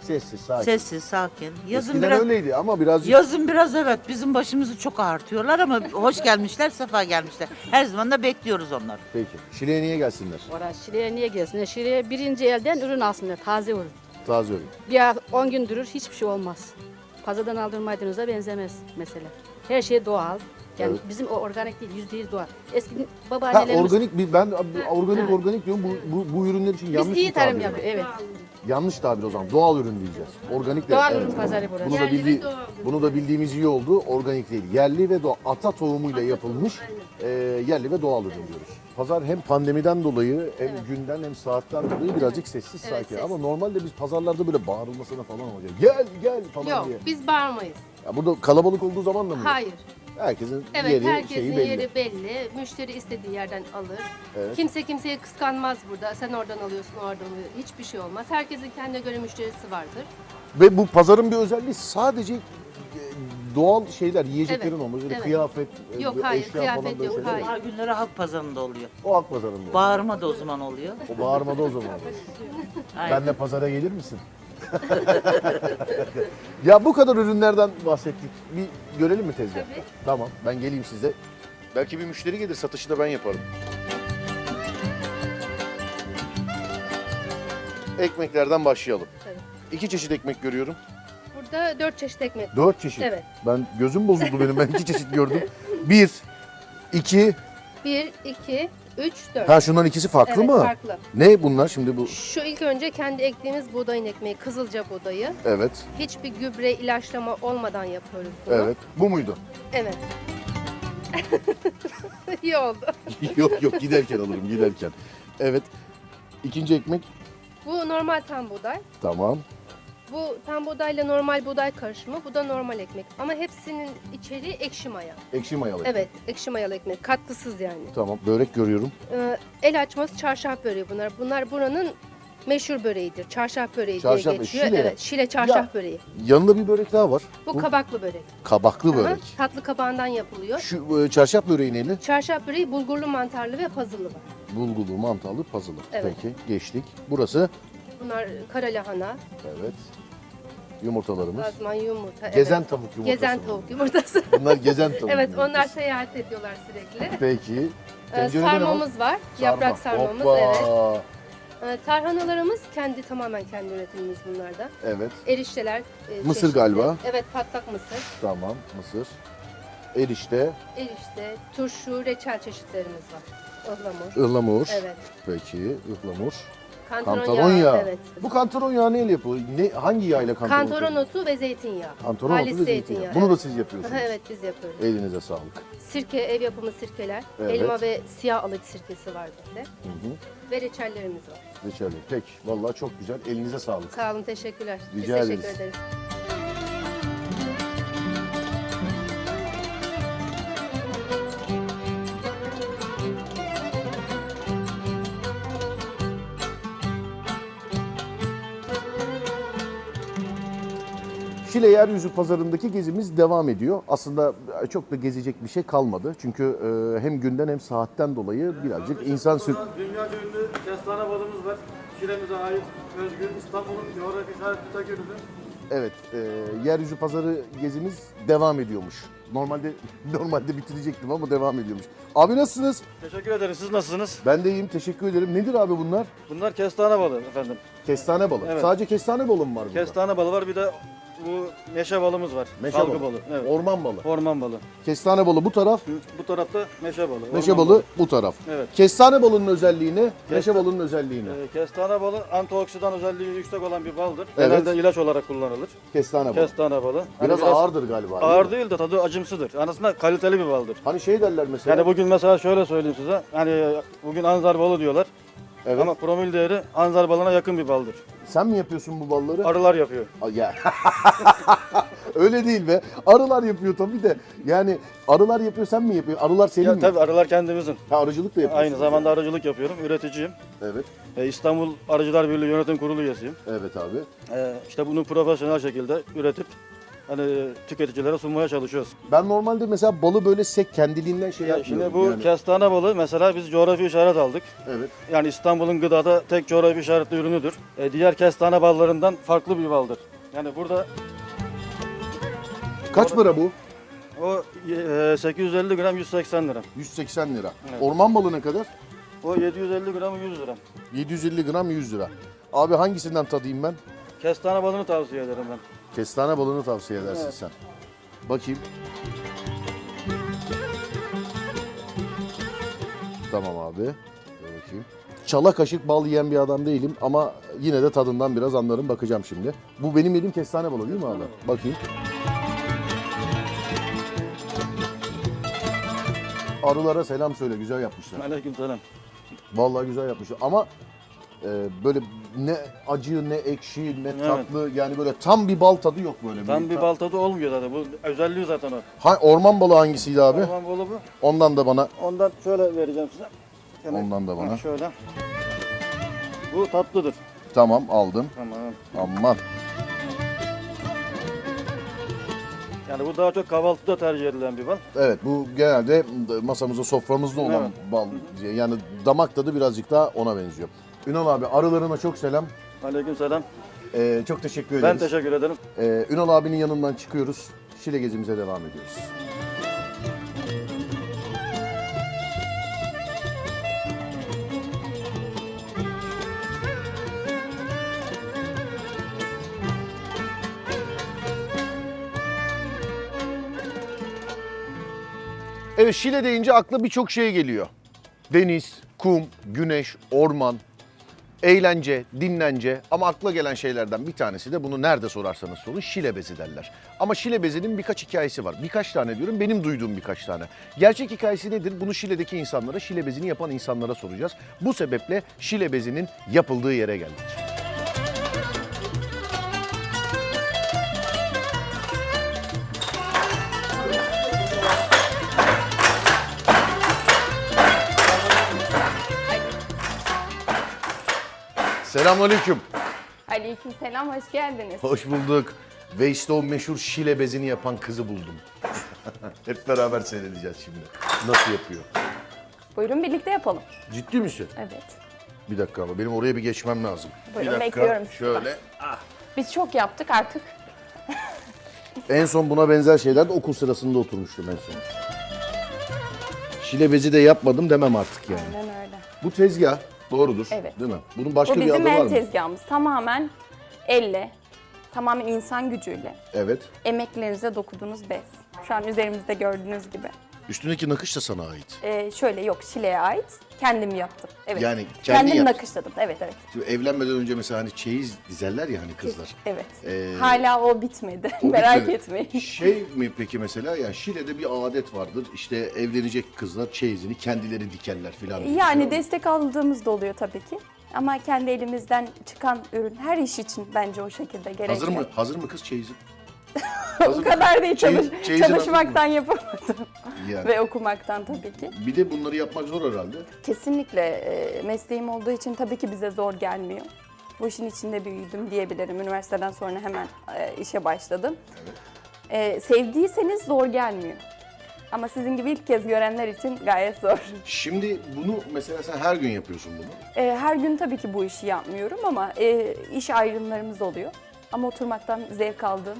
A: Sessiz, sakin.
I: Sessiz, sakin. Yazın
A: Eskiden
I: biraz
A: öyleydi ama birazcık
I: Yazın biraz evet bizim başımızı çok ağrıtıyorlar
A: *laughs*
I: ama hoş gelmişler, sefa gelmişler. Her zaman da bekliyoruz onları.
A: peki. Şile'ye niye gelsinler?
J: Oraya Şile'ye niye gelsin? Şile'ye birinci elden ürün alsınlar, taze ürün.
A: Taze öyle.
J: Bir ay- 10 gün durur, hiçbir şey olmaz. Pazardan aldığın maydanoza benzemez mesela. Her şey doğal. Yani bizim o organik değil, yüzde yüz doğal. Eskiden
A: Ha
J: babaannelerimiz...
A: organik bir ben organik organik diyorum bu, bu, bu ürünler için yanlış
J: Biz
A: bir
J: iyi tarım
A: tabir
J: yapıyoruz,
A: var.
J: evet.
A: Yanlış tabir o zaman. Doğal ürün diyeceğiz. Organik de-
J: Doğal
A: evet.
J: ürün pazarı burası.
A: Bunu da,
H: Yerli ve
A: bildi-
H: doğal.
A: bunu da bildiğimiz iyi oldu. Organik değil. Yerli ve doğal. Ata tohumuyla yapılmış e, yerli ve doğal ürün diyoruz. Pazar hem pandemiden dolayı hem günden hem saatten dolayı birazcık sessiz
H: Evet,
A: sakin.
H: sessiz.
A: Ama normalde biz pazarlarda böyle bağırılmasına falan olacak. Gel gel falan
H: Yok
A: diye.
H: biz bağırmayız.
A: Ya burada kalabalık olduğu zaman da mı?
H: Hayır.
A: Herkesin
H: Evet
A: yeri
H: herkesin
A: şeyi belli.
H: yeri belli. Müşteri istediği yerden alır.
A: Evet.
H: Kimse kimseye kıskanmaz burada. Sen oradan alıyorsun, oradan alıyorsun. Hiçbir şey olmaz. Herkesin kendine göre müşterisi vardır.
A: Ve bu pazarın bir özelliği sadece e, doğal şeyler, yiyeceklerin
H: Evet,
A: olması.
H: evet.
A: Kıyafet, e,
H: Yok,
A: eşya
H: hayır,
A: falan
H: kıyafet
A: böyle
H: yok,
A: şeyler
H: hayır.
I: Pazar günleri halk pazarında oluyor.
A: O halk pazarında.
I: Bağırma da o zaman oluyor.
A: O bağırmadı o zaman.
I: Aynen.
A: Ben de pazara gelir misin? *laughs*
I: *laughs*
A: ya bu kadar ürünlerden bahsettik. Bir görelim mi tezgahı? Tamam ben geleyim size. Belki bir müşteri gelir satışı da ben yaparım. Ekmeklerden başlayalım.
H: Tabii.
A: İki çeşit ekmek görüyorum.
H: Burada dört çeşit ekmek.
A: Dört çeşit.
H: Evet.
A: Ben gözüm bozuldu benim. Ben iki çeşit gördüm. *laughs* Bir, iki.
H: *laughs* Bir, iki, üç, dört.
A: Ha şundan ikisi farklı
H: evet,
A: mı?
H: farklı.
A: Ne bunlar şimdi bu?
H: Şu ilk önce kendi ektiğimiz buğdayın ekmeği, kızılca buğdayı.
A: Evet.
H: Hiçbir gübre, ilaçlama olmadan yapıyoruz bunu.
A: Evet. Bu muydu?
H: Evet. *laughs* İyi oldu.
A: *laughs* yok yok giderken alırım giderken. Evet. İkinci ekmek.
H: Bu normal tam buğday.
A: Tamam.
H: Bu tam buğdayla normal buğday karışımı. Bu da normal ekmek. Ama hepsinin içeriği ekşi maya.
A: Ekşi mayalı.
H: Evet, ekşi mayalı ekmek. Katkısız yani.
A: Tamam. Börek görüyorum.
H: Ee, el açması çarşaf böreği bunlar. Bunlar buranın meşhur böreğidir. Çarşaf böreği
A: Çarşaf
H: diye
A: böreği,
H: geçiyor.
A: Şile.
H: Evet, Şile çarşaf
A: Ya.
H: böreği.
A: Yanında bir börek daha var.
H: Bu, kabaklı börek.
A: kabaklı
H: Aha,
A: börek.
H: Tatlı kabağından yapılıyor.
A: Şu e, çarşaf böreği neyli?
H: Çarşaf böreği bulgurlu mantarlı ve pazılı var.
A: Bulgulu, mantarlı, pazılı.
H: Evet.
A: Peki geçtik. Burası
H: Bunlar kara lahana,
A: evet. Yumurtalarımız.
H: lazman, yumurta.
A: Gezen
H: evet.
A: tavuk yumurtası.
H: Gezen
A: mı?
H: tavuk yumurtası.
A: Bunlar *laughs*
H: *laughs*
A: gezen tavuk.
H: evet,
A: yumurtası.
H: onlar seyahat ediyorlar sürekli.
A: Peki.
H: Ee,
A: Tencerede ne var?
H: sarmamız var. Yaprak
A: Sarma.
H: sarmamız
A: Hoppa.
H: evet. Ee, tarhanalarımız kendi tamamen kendi üretimimiz bunlarda.
A: Evet.
H: Erişteler. e,
A: Mısır
H: çeşitli.
A: galiba.
H: Evet patlak mısır.
A: Tamam. Mısır. Erişte,
H: Erişte, turşu, reçel çeşitlerimiz var. Ihlamur.
A: ıhlamur.
H: Evet.
A: Peki, ıhlamur.
H: Kantaron,
A: Kantaron
H: yağı,
A: yağı.
H: Evet.
A: Bu kantaron yağı neyle yapılıyor? Ne, hangi yağıyla kantaron?
H: Kantaron otu ve zeytinyağı.
A: Kantaron otu
H: Halis
A: ve zeytinyağı. Bunu da siz yapıyorsunuz.
H: *laughs* evet biz yapıyoruz.
A: Elinize sağlık.
H: Sirke, ev yapımı sirkeler.
A: Evet.
H: Elma ve siyah alıç sirkesi var bizde.
A: Hı hı.
H: Ve reçellerimiz var.
A: Reçeli. Peki. Vallahi çok güzel. Elinize sağlık.
H: Sağ olun, teşekkürler. Biz
A: Rica
H: teşekkür
A: ederiz.
H: ederiz.
A: Şile Yeryüzü Pazarı'ndaki gezimiz devam ediyor. Aslında çok da gezecek bir şey kalmadı. Çünkü e, hem günden hem saatten dolayı birazcık insan sür...
K: Dünya ünlü kestane balımız var. Şiremize ait özgür İstanbul'un coğrafi işaretli tek ürünü.
A: Evet, e, Yeryüzü Pazarı gezimiz devam ediyormuş. Normalde *laughs* normalde bitirecektim ama devam ediyormuş. Abi nasılsınız?
K: Teşekkür ederim. Siz nasılsınız?
A: Ben de iyiyim, teşekkür ederim. Nedir abi bunlar?
K: Bunlar kestane balı efendim.
A: Kestane balı.
K: Evet.
A: Sadece kestane balı mı var burada?
K: Kestane balı var bir de bu meşe balımız var.
A: Meşe
K: Salgı
A: balı.
K: balı. Evet.
A: Orman balı.
K: Orman balı.
A: Kestane balı bu taraf,
K: Bu tarafta meşe balı.
A: meşe
K: orman
A: balı bu taraf.
K: Evet.
A: Kestane balının özelliği ne? Meşe
K: Kesta-
A: balının özelliği ne?
K: Ee, Kestane balı antioksidan özelliği yüksek olan bir baldır.
A: Evet.
K: Genelde ilaç olarak kullanılır.
A: Kestane balı.
K: Kestane balı. Hani
A: Biraz ağırdır galiba, değil
K: Ağır
A: mi?
K: değil de tadı acımsıdır. Aslında kaliteli bir baldır.
A: Hani şey derler mesela.
K: Yani bugün mesela şöyle söyleyeyim size. Hani bugün anzar balı diyorlar.
A: Evet.
K: Ama promil değeri anzar balına yakın bir baldır.
A: Sen mi yapıyorsun bu balları?
K: Arılar yapıyor.
A: Ya. *laughs* Öyle değil be. Arılar yapıyor tabii de. Yani arılar yapıyor sen mi yapıyorsun? Arılar senin
K: Ya
A: mi?
K: tabii arılar kendimizin.
A: Ha, arıcılık da yapıyorsun.
K: Aynı zamanda arıcılık yapıyorum. Üreticiyim. E,
A: Evet.
K: İstanbul Arıcılar Birliği Yönetim Kurulu üyesiyim. E,
A: Evet abi.
K: işte bunu profesyonel şekilde üretip hani tüketicilere sunmaya çalışıyoruz.
A: Ben normalde mesela balı böyle sek kendiliğinden şey
K: Ya
A: yapmıyorum.
K: şimdi bu
A: yani.
K: kestane balı mesela biz coğrafi işaret aldık.
A: Evet.
K: Yani İstanbul'un gıdada tek coğrafi işaretli ürünüdür. E, diğer kestane ballarından farklı bir baldır. Yani burada
A: Kaç para bu?
K: o e, 850 gram 180 lira.
A: 180 lira.
K: Evet.
A: Orman balı ne kadar?
K: O 750 gram 100 lira.
A: 750 gram 100 lira. Abi hangisinden tadayım ben?
K: Kestane balını tavsiye ederim ben. *laughs*
A: Kestane balını tavsiye edersin
K: Evet.
A: sen. Bakayım. Tamam abi. Dur bakayım. Çala kaşık bal yiyen bir adam değilim ama yine de tadından biraz anlarım bakacağım şimdi. Bu benim yediğim kestane balı değil mi abi? Bakayım. Arılara selam söyle güzel yapmışlar.
K: Aleykümselam.
A: Vallahi güzel yapmışlar ama e, böyle ne acı ne ekşi ne
K: Evet.
A: tatlı yani böyle tam bir bal tadı yok böyle.
K: Tam bir baltada olmuyor zaten. Bu özelliği zaten o.
A: Ha, orman balı hangisiydi abi?
K: Orman balı bu.
A: Ondan da bana.
K: Ondan şöyle vereceğim size. Gene-
A: Ondan da bana.
K: Ha, şöyle. Bu tatlıdır.
A: Tamam aldım.
K: Tamam.
A: Aman.
K: Yani bu daha çok kahvaltıda tercih edilen bir bal.
A: Evet bu genelde masamızda soframızda olan bal. Yani damak tadı birazcık daha ona benziyor. Ünal abi arılarına çok selam.
K: Aleykümselam.
A: Ee, çok teşekkür
K: Ben
A: ederiz.
K: teşekkür ederim.
A: Ee, Ünal abinin yanından çıkıyoruz. Şile gezimize devam ediyoruz. Evet Şile deyince akla birçok şey geliyor. Deniz, kum, güneş, orman, eğlence, dinlence ama akla gelen şeylerden bir tanesi de bunu nerede sorarsanız sorun Şile bezi derler. Ama Şile bezinin birkaç hikayesi var. Birkaç tane diyorum benim duyduğum birkaç tane. Gerçek hikayesi nedir? Bunu Şile'deki insanlara, Şile bezini yapan insanlara soracağız. Bu sebeple Şile bezinin yapıldığı yere geldik. Selamünaleyküm.
L: Aleykümselam, hoş geldiniz.
A: Hoş bulduk. Ve işte o meşhur Şile bezini yapan kızı buldum. *laughs* Hep beraber seyredeceğiz şimdi. Nasıl yapıyor?
L: Buyurun birlikte yapalım.
A: Ciddi misin?
L: Evet.
A: Bir dakika ama benim oraya bir geçmem lazım.
L: Buyurun,
A: bir dakika.
L: bekliyorum sizi.
A: Şöyle. Ah.
L: Biz çok yaptık artık.
A: En son buna benzer şeyler de okul sırasında oturmuştum en son. Şile bezi de yapmadım demem artık yani.
L: Aynen öyle.
A: Bu tezgah doğrudur
L: Evet.
A: değil mi? Bunun başka
L: Bu
A: bir adı
L: bizim
A: var
L: el
A: mı?
L: tezgahımız. Tamamen elle, tamamen insan gücüyle,
A: Evet.
L: emeklerinize dokuduğunuz bez. Şu an üzerimizde gördüğünüz gibi.
A: Üstündeki nakış da sana ait.
L: Ee, şöyle yok Şile'ye ait. Kendim yaptım. Evet.
A: Yani kendin
L: kendim
A: yaptın.
L: nakışladım. Evet evet.
A: Şimdi evlenmeden önce mesela hani çeyiz dizerler ya hani kızlar.
L: Evet.
A: Ee,
L: Hala o bitmedi. *laughs* Merak
A: bitmedi.
L: etmeyin.
A: Şey mi peki mesela yani Şile'de bir adet vardır. İşte evlenecek kızlar çeyizini kendileri dikerler filan. Şey- diye.
L: Yani destek aldığımız da oluyor tabii ki. Ama kendi elimizden çıkan ürün her iş için bence o şekilde gerekli. *laughs*
A: Hazır mı? Hazır mı kız çeyizin?
L: o kadar değil çalış,
A: Çeyiz- çeyizin
L: çalışmaktan yapamadım.
A: *laughs* Yani.
L: Ah. Ve okumaktan tabii ki.
A: Bir de bunları yapmak zor herhalde.
L: Kesinlikle e, mesleğim olduğu için tabii ki bize zor gelmiyor. Bu işin içinde büyüdüm diyebilirim. Üniversiteden sonra hemen e, işe başladım. E, sevdiyseniz zor gelmiyor. Ama sizin gibi ilk kez görenler için gayet zor.
A: Şimdi bunu mesela sen her gün yapıyorsun bunu.
L: E, her gün tabii ki bu işi yapmıyorum ama e, iş ayrımlarımız oluyor. Ama oturmaktan zevk aldığım,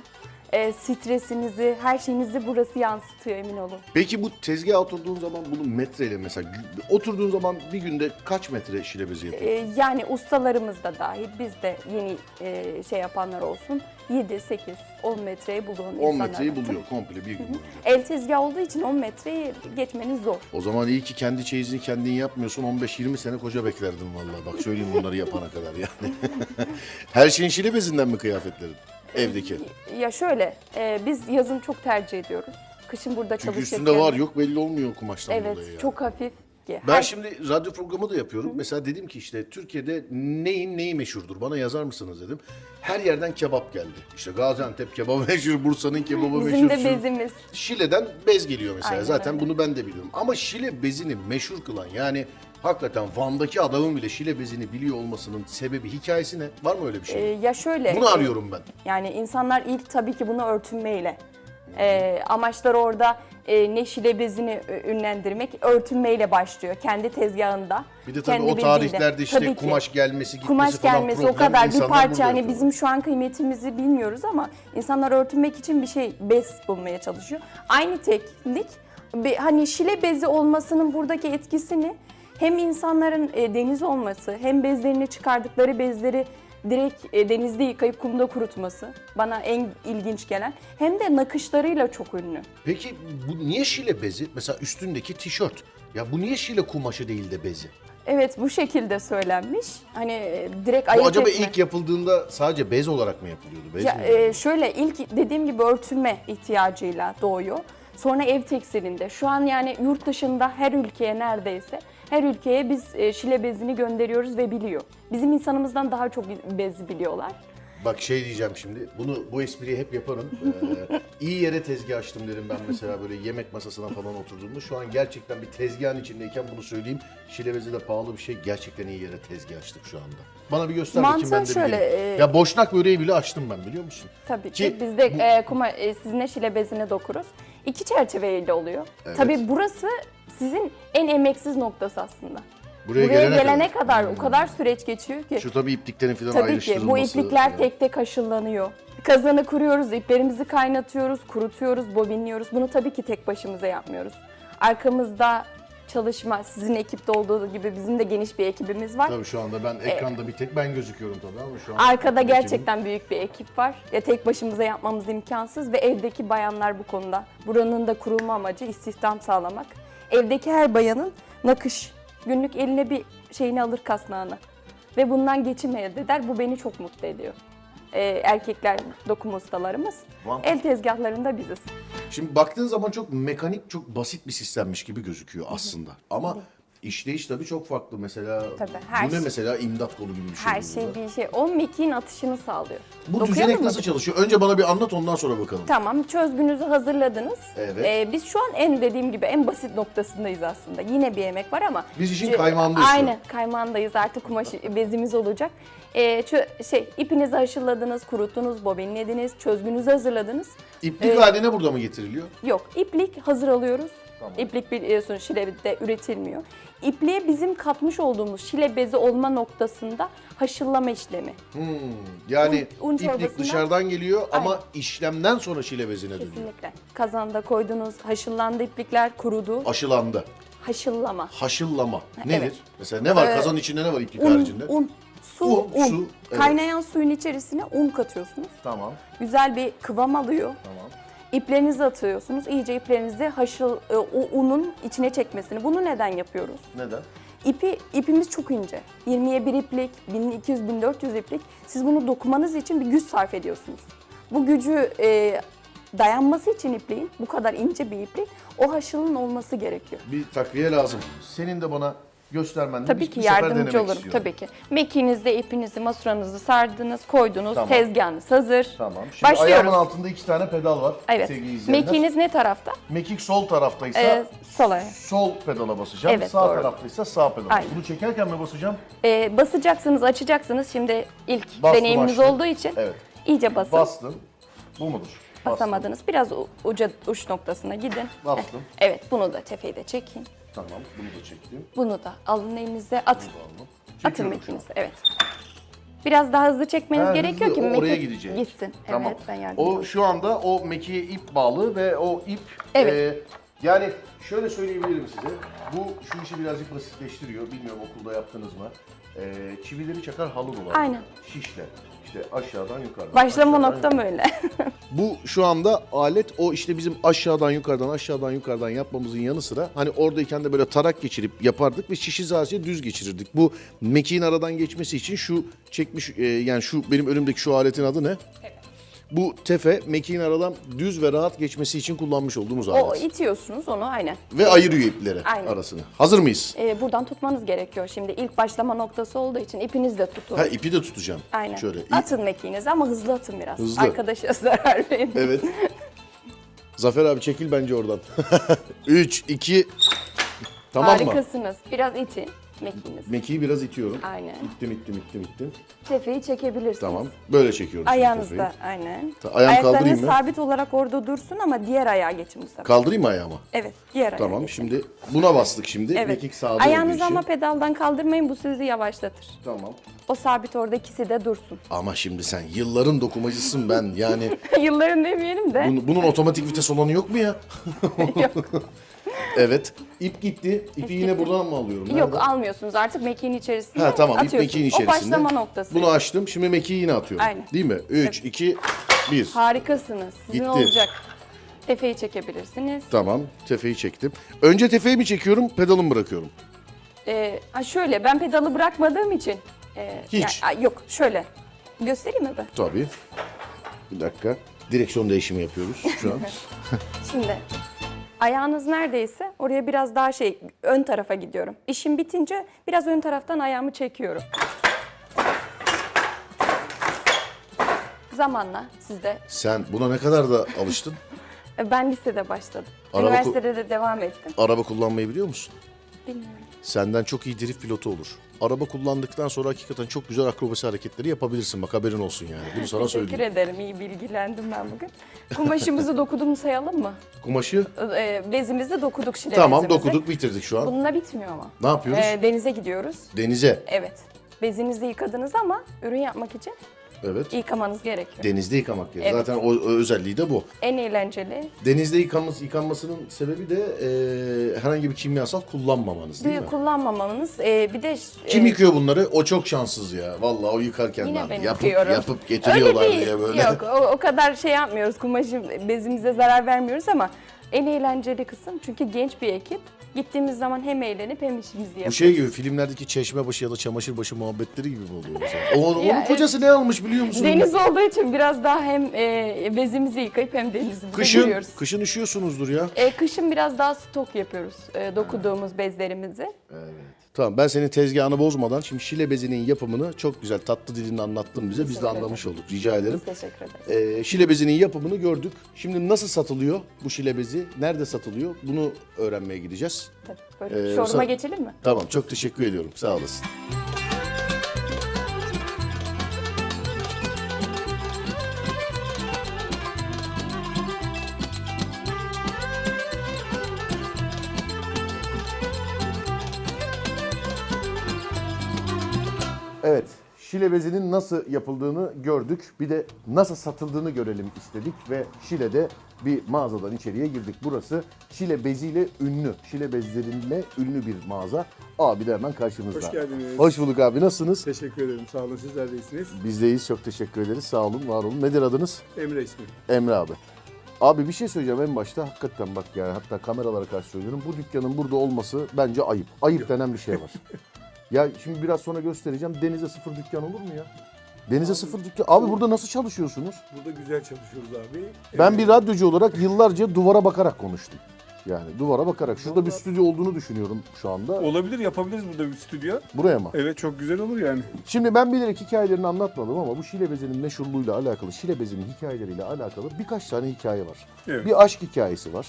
L: e, stresinizi, her şeyinizi burası yansıtıyor emin olun.
A: Peki bu tezgaha oturduğun zaman bunu metreyle mesela gü- oturduğun zaman bir günde kaç metre şilebezi yapıyorsun?
L: E, yani ustalarımız da dahil, biz de yeni e, şey yapanlar olsun 7, 8, 10 metreyi bulan
A: 10
L: insanlar
A: metreyi
L: var.
A: buluyor komple bir gün.
L: El tezgah olduğu için 10 metreyi geçmeniz zor.
A: O zaman iyi ki kendi çeyizini kendin yapmıyorsun. 15-20 sene koca beklerdim vallahi. Bak söyleyeyim bunları yapana kadar
L: *laughs*
A: yani. Her şeyin şilebezinden mi kıyafetlerin?
L: Ee,
A: Evdeki.
L: Ya şöyle, e, biz yazın çok tercih ediyoruz. Kışın burada
A: Çünkü
L: çalışırken...
A: üstünde var yok belli olmuyor kumaştan
L: Evet,
A: dolayı yani.
L: çok hafif. ki.
A: Ben
L: Her-
A: şimdi radyo programı da yapıyorum. Mesela dedim ki işte Türkiye'de neyin neyi meşhurdur bana yazar mısınız dedim. Her yerden kebap geldi. İşte Gaziantep kebabı *laughs* meşhur, Bursa'nın kebabı
L: Bizim
A: meşhur.
L: de bezimiz.
A: Şile'den bez geliyor mesela.
L: Aynen
A: Zaten
L: öyle.
A: bunu ben de biliyorum. Ama Şile bezini meşhur kılan yani hakikaten Van'daki adamın bile Şile bezini biliyor olmasının sebebi hikayesi ne? Var mı öyle bir şey?
L: Ee, ya şöyle.
A: Bunu arıyorum ben.
L: Yani insanlar ilk tabii ki bunu örtünmeyle. Ee, amaçları orada e, ne şile bezini e, ünlendirmek, örtünmeyle başlıyor kendi tezgahında.
A: Bir de tabii
L: kendi
A: o
L: beziyle.
A: tarihlerde işte
L: Tabii ki.
A: kumaş gelmesi gitmesi
L: Kumaş
A: falan
L: gelmesi o
A: problemli
L: kadar bir
A: insanlar
L: parça
A: burada
L: hani
A: yapıyorlar.
L: bizim şu an kıymetimizi bilmiyoruz ama insanlar örtünmek için bir şey bez bulmaya çalışıyor. Aynı teknik bir- hani şile bezi olmasının buradaki etkisini hem insanların e, deniz olması hem bezlerini çıkardıkları bezleri direkt e, denizde yıkayıp kumda kurutması bana en ilginç gelen hem de nakışlarıyla çok ünlü.
A: Peki bu niye Şile bezi? Mesela üstündeki tişört. Ya bu niye Şile kumaşı değil de bezi?
L: Evet bu şekilde söylenmiş. Hani e, direkt
A: Bu
L: ayırt
A: acaba
L: etme.
A: ilk yapıldığında sadece bez olarak mı yapılıyordu? Bez
L: Ya,
A: mi?
L: e, şöyle ilk dediğim gibi örtünme ihtiyacıyla doğuyor. Sonra ev tekstilinde. Şu an yani yurt dışında her ülkeye neredeyse her ülkeye biz e, şile bezini gönderiyoruz ve biliyor. Bizim insanımızdan daha çok bezi biliyorlar.
A: Bak şey diyeceğim şimdi. Bunu bu espriyi
L: *laughs*
A: hep yaparım. Ee, iyi yere tezgah açtım derim ben mesela böyle yemek masasına falan oturduğumda. Şu an gerçekten bir tezgahın içindeyken bunu söyleyeyim. Şile bezi de pahalı bir şey. Gerçekten iyi yere tezgah açtık şu anda. Bana bir göster bakayım
L: Mantığı
A: ben de
L: şöyle,
A: bileyim.
L: e,
A: Ya boşnak böreği bile açtım ben biliyor musun?
L: Tabii ki,
A: Ki
L: biz de e, kuma, e, sizinle şile bezini dokuruz. İki çerçeveyle oluyor.
A: Evet.
L: Tabii burası sizin en emeksiz noktası aslında.
A: Buraya gelene Hmm.
L: kadar, o kadar süreç geçiyor ki.
A: Şu tabii ipliklerin falan
L: Tabii ki
A: ayrıştırılması. e,
L: bu iplikler tek tek aşıllanıyor. Kazanı kuruyoruz, iplerimizi kaynatıyoruz, kurutuyoruz, bobinliyoruz. Bunu tabii ki tek başımıza yapmıyoruz. Arkamızda çalışma, sizin ekipte olduğu gibi bizim de geniş bir ekibimiz var.
A: Tabii şu anda ben
L: Ee,
A: ekranda bir tek ben gözüküyorum tabii ama şu an...
L: Arkada
A: ekibim-
L: gerçekten büyük bir ekip var. Ya tek başımıza yapmamız imkansız ve evdeki bayanlar bu konuda. Buranın da kurulma amacı istihdam sağlamak. Evdeki her bayanın nakış, günlük eline bir şeyini alır kasnağını ve bundan geçim elde eder. Bu beni çok mutlu ediyor. Ee, erkekler dokuma ustalarımız.
A: Van-
L: El tezgahlarında biziz.
A: Şimdi baktığın zaman çok mekanik, çok basit bir sistemmiş gibi gözüküyor aslında. Ama işleyiş tabii çok farklı. Mesela
L: Tabii, her
A: bu ne
L: şey-
A: mesela imdat kolu gibi bir şey.
L: Her
A: bu
L: şey
A: da.
L: bir şey. O mekiğin atışını sağlıyor.
A: Bu
L: Dokuyor
A: düzenek
L: mu
A: nasıl
L: bu?
A: çalışıyor? Önce bana bir anlat ondan sonra bakalım.
L: Tamam, çözgünüzü hazırladınız.
A: Evet.
L: Ee, biz şu an en dediğim gibi en basit noktasındayız aslında. Yine bir yemek var ama.
A: Biz işin
L: Ee,
A: kaymağındayız şu an.
L: Aynen, kaymağındayız. Artık kumaş bezimiz olacak. Ee, çö- şey, ipinizi haşırladınız, kuruttunuz, bobinlediniz, çözgünüzü hazırladınız.
A: İplik
L: Ee,
A: haline burada mı getiriliyor?
L: Yok, iplik hazır alıyoruz.
A: Tamam.
L: İplik e, biliyorsun şilebide üretilmiyor. İpliğe bizim katmış olduğumuz şile bezi olma noktasında haşıllama işlemi.
A: Hmm, yani
L: Un- un
A: iplik
L: çorbasından-
A: dışarıdan geliyor ama
L: Aynen.
A: işlemden sonra şilebezine dönüyor.
L: Kesinlikle. Kazanda koydunuz, haşıllandı iplikler, kurudu.
A: Aşılandı.
L: Haşıllama.
A: Haşıllama.
L: Evet.
A: Nedir? Mesela ne var?
L: Ee,
A: Kazanın içinde ne var iplik
L: Un,
A: haricinde?
L: un, su,
A: Un,
L: un.
A: su, evet.
L: Kaynayan suyun içerisine un katıyorsunuz.
A: Tamam.
L: Güzel bir kıvam alıyor.
A: Tamam.
L: İplerinizi atıyorsunuz. İyice iplerinizi haşıl e, o unun içine çekmesini. Bunu neden yapıyoruz?
A: Neden?
L: İpi, ipimiz çok ince. 20'ye 1 iplik, 1200-1400 iplik. Siz bunu dokumanız için bir güç sarf ediyorsunuz. Bu gücü e, dayanması için ipliğin, bu kadar ince bir iplik, o haşılın olması gerekiyor.
A: Bir takviye lazım. Senin de bana göstermen
L: Tabii
A: bir,
L: ki
A: bir sefer denemek
L: yardımcı olurum
A: istiyorum.
L: tabii ki. Mekiğinizde ipinizi, masuranızı sardınız, koydunuz,
A: Tamam.
L: tezgahınız hazır.
A: Tamam. Şimdi
L: Başlıyoruz.
A: ayağımın altında iki tane pedal var
L: Evet.
A: sevgili izleyenler.
L: Mekiğiniz ne tarafta?
A: Mekik sol taraftaysa
L: Ee, sola.
A: sol pedala basacağım.
L: Evet,
A: sağ
L: doğru.
A: taraftaysa sağ pedala.
L: Aynen.
A: Bunu çekerken mi basacağım?
L: Ee, basacaksınız, açacaksınız. Şimdi ilk
A: Bastım,
L: deneyimimiz
A: açtım.
L: olduğu için
A: Evet.
L: iyice basın.
A: Bastım. Bu mudur?
L: Basamadınız. Biraz u- uca, uç noktasına gidin.
A: Bastım.
L: Heh, Evet, bunu da tefeyi de çekin.
A: Tamam. Bunu da çektim.
L: Bunu da alın elinize, atın. Atın
A: Çekiyorum şu
L: mekinizi, evet. Biraz daha hızlı çekmeniz
A: Ha,
L: gerekiyor
A: hızlı,
L: ki
A: o
L: mekik
A: oraya gidecek.
L: gitsin.
A: Tamam.
L: Evet, ben yardım
A: O şu anda o mekiğe ip bağlı ve o ip
L: Evet.
A: e, yani şöyle söyleyebilirim size. Bu şu işi birazcık basitleştiriyor. Bilmiyorum okulda yaptınız mı? E, çivileri çakar halı dolar.
L: Aynen.
A: Şişle. İşte aşağıdan yukarıdan.
L: Başlama
A: aşağıdan
L: noktam öyle.
A: Bu şu anda alet o işte bizim aşağıdan yukarıdan aşağıdan yukarıdan yapmamızın yanı sıra hani oradayken de böyle tarak geçirip yapardık ve şişi zaten düz geçirirdik. Bu mekiğin aradan geçmesi için şu çekmiş e, yani şu benim önümdeki şu aletin adı ne? Bu tefe mekiğin aradan düz ve rahat geçmesi için kullanmış olduğumuz alet.
L: O itiyorsunuz onu aynen.
A: Ve ayırıyor ipleri
L: Aynen.
A: arasını. Hazır mıyız?
L: Ee, buradan tutmanız gerekiyor. Şimdi ilk başlama noktası olduğu için ipiniz de tutun.
A: Ha ipi de tutacağım.
L: Aynen.
A: Şöyle. ip-
L: Atın mekiğinizi ama hızlı atın biraz.
A: Hızlı.
L: Arkadaşa *laughs* zarar verin. *laughs*
A: Evet. Zafer abi çekil bence oradan. *laughs* 3 2 Tamam mı?
L: Harikasınız. Biraz itin mekiğinizi.
A: Mekiği biraz itiyorum.
L: Aynen.
A: İttim ittim ittim ittim.
L: Tefeyi çekebilirsiniz.
A: Tamam. Böyle çekiyorum. şimdi
L: Ayağınızda
A: tefeyi.
L: aynen.
A: Ta- ayağımı
L: Ayaklarınız
A: kaldırayım mı?
L: sabit olarak orada dursun ama diğer ayağa geçin bu sefer.
A: Kaldırayım mı ayağımı?
L: Evet diğer ayağa.
A: Tamam şimdi buna bastık şimdi.
L: Evet.
A: Mekik sağda olduğu
L: Ayağınızı
A: için.
L: ama pedaldan kaldırmayın bu sizi yavaşlatır.
A: Tamam.
L: O sabit orada ikisi de dursun.
A: Ama şimdi sen yılların dokumacısın ben yani.
L: *laughs* Yılların demeyelim de.
A: Bun- bunun otomatik vites olanı yok
L: *laughs*
A: mu ya? *laughs* evet. İp gitti. İpi yine buradan mı alıyorum?
L: Yok
A: Nereden?
L: almıyorsunuz artık mekiğin içerisinde
A: Ha tamam ip
L: atıyorsunuz.
A: mekiğin içerisinde.
L: O başlama noktası.
A: Bunu açtım. Şimdi mekiği yine atıyorum.
L: Aynen.
A: Değil mi? 3 2 1.
L: Harikasınız. Sizin
A: Gitti.
L: olacak. Tefeyi çekebilirsiniz.
A: Tamam. Tefeyi çektim. Önce tefeyi mi çekiyorum, pedalı mı bırakıyorum?
L: Ee, ha şöyle ben pedalı bırakmadığım için. e,
A: Hiç.
L: yani- Aa, yok şöyle. Göstereyim mi ben?
A: Tabii. Bir dakika. Direksiyon değişimi yapıyoruz
L: *laughs*
A: şu an.
L: Şimdi ayağınız neredeyse oraya biraz daha şey ön tarafa gidiyorum. İşim bitince biraz ön taraftan ayağımı çekiyorum. Zamanla sizde.
A: Sen buna ne kadar da alıştın?
L: Ben lisede başladım.
A: Araba ku-
L: Üniversitede de devam ettim.
A: Araba kullanmayı biliyor musun?
L: Bilmiyorum.
A: Senden çok iyi drift pilotu olur. Araba kullandıktan sonra hakikaten çok güzel akrobasi hareketleri yapabilirsin. Bak haberin olsun yani. Bunu sana
L: Teşekkür
A: söyleyeyim.
L: ederim. İyi bilgilendim ben bugün. Kumaşımızı *laughs* dokudum sayalım mı?
A: Kumaşı?
L: Ee, Bezimizi dokuduk şile
A: Tamam
L: bezimizi.
A: dokuduk bitirdik şu an.
L: Bununla bitmiyor ama.
A: Ne yapıyoruz?
L: Ee, denize gidiyoruz.
A: Denize.
L: Evet. Bezinizi yıkadınız ama ürün yapmak için
A: Evet.
L: yıkamanız gerekiyor.
A: Denizde yıkamak gerekiyor.
L: Evet.
A: Zaten o, o özelliği de bu.
L: En eğlenceli.
A: Denizde yıkanması, yıkanmasının sebebi de e, herhangi bir kimyasal kullanmamanız değil
L: Suyu
A: mi?
L: kullanmamanız. ee, bir de ş-
A: Kim
L: ee,
A: yıkıyor bunları? O çok şanssız ya. Vallahi o yıkarken
L: Yine
A: lan
L: ben
A: yapıp
L: yıkıyorum.
A: yapıp getiriyorlar
L: Öyle değil.
A: diye böyle.
L: Yok
A: *laughs*
L: o, o kadar şey yapmıyoruz. Kumaşı bezimize zarar vermiyoruz ama en eğlenceli kısım çünkü genç bir ekip. Gittiğimiz zaman hem eğlenip hem işimizi yapıyoruz.
A: Bu şey gibi filmlerdeki çeşmebaşı ya da çamaşırbaşı muhabbetleri gibi mi
L: *laughs*
A: oluyor mesela? O, onun
L: Ya,
A: kocası ne almış biliyor musun?
L: Deniz olduğu için biraz daha hem e, bezimizi yıkayıp hem denizimize
A: Kışın,
L: giriyoruz.
A: kışın üşüyorsunuzdur ya.
L: E, kışın biraz daha stok yapıyoruz e, dokuduğumuz bezlerimizi.
A: Tamam ben senin tezgahını bozmadan şimdi şile bezinin yapımını çok güzel tatlı dilini anlattın bize. Biz de anlamış olduk. Rica ederim.
L: Biz teşekkür ederiz.
A: Ee, şile bezinin yapımını gördük. Şimdi nasıl satılıyor bu şile bezi? Nerede satılıyor? Bunu öğrenmeye gideceğiz.
L: Tabii, böyle
A: Ee,
L: şoruma
A: sa-
L: geçelim mi?
A: Tamam çok teşekkür ediyorum. Sağ olasın. Evet. Şile bezinin nasıl yapıldığını gördük. Bir de nasıl satıldığını görelim istedik ve Şile'de bir mağazadan içeriye girdik. Burası Şile beziyle ünlü. Şile bezleriyle ünlü bir mağaza. Abi de hemen karşımızda.
M: Hoş geldiniz.
A: Hoş bulduk abi. Nasılsınız?
M: Teşekkür ederim. Sağ olun. Sizler de iyisiniz.
A: Bizdeyiz. Çok teşekkür ederiz. Sağ olun, var olun. Nedir adınız?
M: Emre ismi.
A: Emre abi. Abi bir şey söyleyeceğim en başta hakikaten bak yani hatta kameralara karşı söylüyorum. Bu dükkanın burada olması bence ayıp. Ayıp denen bir şey var. ya şimdi biraz sonra göstereceğim. Denize sıfır dükkan olur mu ya? Denize sıfır dükkan. Abi burada nasıl çalışıyorsunuz?
M: Burada güzel çalışıyoruz abi.
A: Ben bir radyocu olarak yıllarca duvara bakarak konuştum. Yani duvara bakarak. Şurada bir stüdyo olduğunu düşünüyorum şu anda.
M: Olabilir yapabiliriz burada bir stüdyo.
A: Buraya mı?
M: Evet çok güzel olur yani.
A: Şimdi ben bilerek hikayelerini anlatmadım ama bu Şilebezi'nin meşhurluğuyla alakalı, Şilebezi'nin hikayeleriyle alakalı birkaç tane hikaye var.
M: Evet.
A: Bir aşk hikayesi var.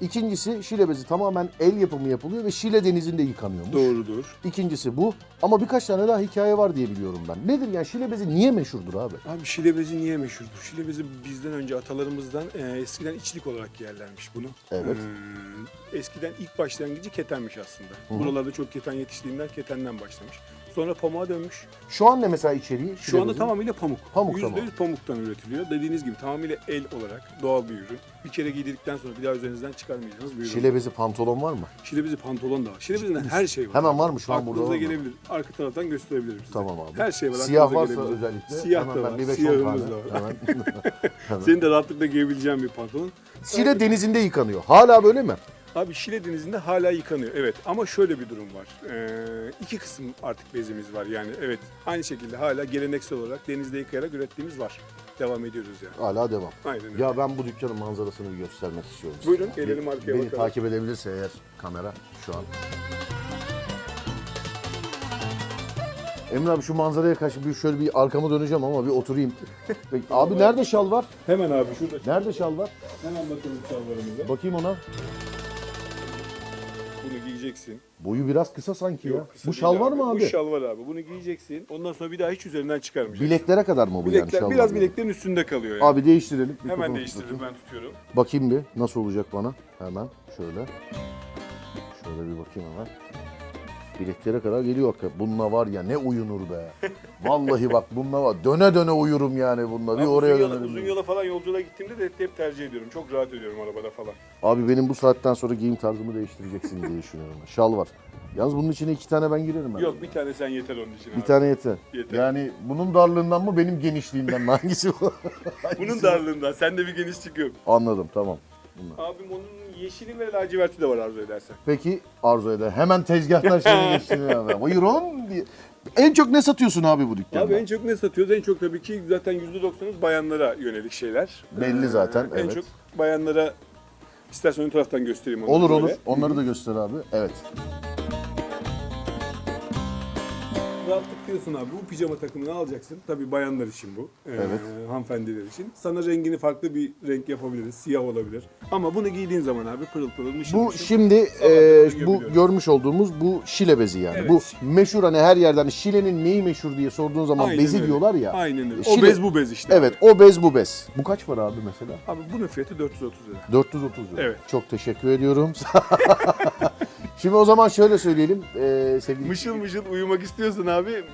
A: İkincisi Şilebezi tamamen el yapımı yapılıyor ve Şile denizinde yıkanıyormuş.
M: Doğrudur.
A: İkincisi bu ama birkaç tane daha hikaye var diye biliyorum ben. Nedir yani Şilebezi niye meşhurdur abi?
M: Abi şilebezi niye meşhurdur? Şilebezi bizden önce atalarımızdan e, eskiden içlik olarak yerlenmiş bunu.
A: Evet.
M: Ee, eskiden ilk başlangıcı ketenmiş aslında.
A: Hı.
M: Buralarda çok keten yetiştiğinden ketenden başlamış. Sonra pamuğa dönmüş.
A: Şu an ne mesela içeriği?
M: Şu anda
A: Şilebezi?
M: tamamıyla pamuk.
A: Pamuk,
M: %100
A: tamam.
M: pamuktan üretiliyor. Dediğiniz gibi tamamıyla el olarak doğal bir ürün. Bir kere giydikten sonra bir daha üzerinizden çıkarmayacağınız bir ürün.
A: Şilebezi pantolon var mı?
M: Şilebezi pantolon da var. Şilebezinden her şey var.
A: Hemen var mı? Şu an burada
M: Aklınıza
A: var mı?
M: gelebilir. Arka taraftan gösterebilirim size.
A: Tamam abi.
M: Her şey var.
A: Siyah
M: aklınıza
A: varsa
M: gelebilir.
A: özellikle
M: Siyah
A: hemen
M: da
A: ben
M: var.
A: bir beş on
M: Siyahımız
A: tane
M: da var.
A: hemen- *laughs* hemen.
M: Senin de rahatlıkla giyebileceğin bir pantolon.
A: Şile denizinde yıkanıyor. Hala böyle mi?
M: Abi Şile Denizi'nde hala yıkanıyor. Evet ama şöyle bir durum var. Ee, iki kısım artık bezimiz var yani. Evet aynı şekilde hala geleneksel olarak denizde yıkayarak ürettiğimiz var. Devam ediyoruz yani.
A: Hala devam.
M: Aynen öyle.
A: Ya ben bu dükkanın manzarasını bir göstermek istiyorum.
M: Buyurun,
A: size.
M: gelelim
A: Bir-
M: arkaya
A: Beni
M: bakalım.
A: takip edebilirse eğer kamera şu an. Emre abi şu manzaraya karşı bir şöyle bir arkamı döneceğim ama bir oturayım.
M: *laughs*
A: Peki, abi nerede şal var?
M: Hemen abi şurada.
A: Nerede şal var?
M: Hemen bakalım çalvarımıza.
A: Bakayım ona.
M: Bunu giyeceksin.
A: Boyu biraz kısa sanki ya.
M: Kısa
A: bu
M: değil
A: şal var mı abi?
M: Bu şal var abi. Bunu giyeceksin. Ondan sonra bir daha hiç üzerinden çıkarmayacaksın.
A: Bileklere kadar mı bu yani
M: Bilekler,
A: şal?
M: biraz
A: var?
M: bileklerin üstünde kalıyor yani.
A: Abi değiştirelim. Bir
M: Hemen
A: fotoğraf
M: değiştirelim ben
A: bakayım.
M: tutuyorum.
A: Bakayım bir nasıl olacak bana. Hemen şöyle. Şöyle bir bakayım hemen. Bileklere kadar geliyor hakikaten. Bununla var ya ne uyunur
M: *laughs*
A: be. Vallahi bak bununla var. Döne döne uyurum yani bununla. Bir
M: Abi
A: oraya
M: uzun, yola,
A: dönerim.
M: uzun yola falan yolculuğa gittiğimde de hep- hep tercih ediyorum. Çok rahat ediyorum arabada falan.
A: Abi benim bu saatten sonra giyim tarzımı değiştireceksin diye
M: *laughs*
A: düşünüyorum. Şal var. Yalnız bunun içine iki tane ben girerim herhalde.
M: Yok bir tane sen yeter onun için
A: Bir
M: abi.
A: tane yeter.
M: Yeter.
A: Yani bunun darlığından mı benim genişliğimden mi? *laughs* Hangisi
M: *laughs*
A: bu?
M: *laughs* Bunun darlığından. Sende bir genişlik yok.
A: Anladım tamam.
M: Abim onun yeşili ve laciverti de var arzu edersen.
A: Peki arzu eder. Hemen tezgahtan
M: *laughs*
A: şeye geçtiğini hemen. Buyurun diye. En çok ne satıyorsun abi bu dükkanda?
M: Abi en çok ne satıyoruz? En çok tabii ki zaten %90'ız bayanlara yönelik şeyler.
A: Belli zaten,
M: en
A: evet.
M: çok bayanlara istersen ön taraftan göstereyim onu.
A: Olur
M: böyle.
A: olur. Onları da göster abi. Evet.
M: Rahatlık diyorsun abi. Bu pijama takımını alacaksın. Tabii bayanlar için bu. Ee,
A: Evet.
M: Hanımefendiler için. Sana rengini farklı bir renk yapabiliriz. Siyah olabilir. Ama bunu giydiğin zaman abi pırıl pırıl mışıl
A: Bu
M: mışıl.
A: şimdi e, bu görmüş olduğumuz bu şile bezi yani.
M: Evet.
A: Bu meşhur hani her yerden şilenin neyi meşhur diye sorduğun zaman
M: Aynen
A: bezi
M: öyle.
A: diyorlar ya.
M: Aynen öyle. O
A: Şile-
M: bez bu bez işte
A: Evet o bez bu bez. Bu kaç var abi mesela?
M: Abi bunun fiyatı 430 lira.
A: 430 lira.
M: Evet.
A: Çok teşekkür ediyorum. *laughs* Şimdi o zaman şöyle söyleyelim e, sevgili
M: Mışıl mışıl uyumak istiyorsan abi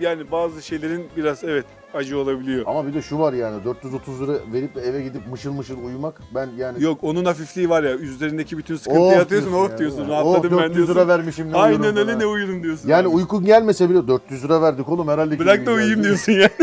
M: yani bazı şeylerin biraz evet acı olabiliyor.
A: Ama bir de şu var yani 430 lira verip de eve gidip mışıl mışıl uyumak ben yani
M: Yok onun hafifliği var ya üzerindeki bütün sıkıntıyı
A: Oh
M: atıyorsun
A: diyorsun
M: oh
A: ya.
M: diyorsun
A: Oh,
M: rahatladım ben
A: 400 lira
M: diyorsun.
A: vermişim, ne
M: Aynen
A: uyurum
M: öyle
A: falan.
M: ne uyudum diyorsun.
A: Yani
M: abi.
A: uykun gelmese bile 400 lira verdik oğlum herhalde.
M: Bırak da uyuyayım diyorsun yani.
A: *laughs*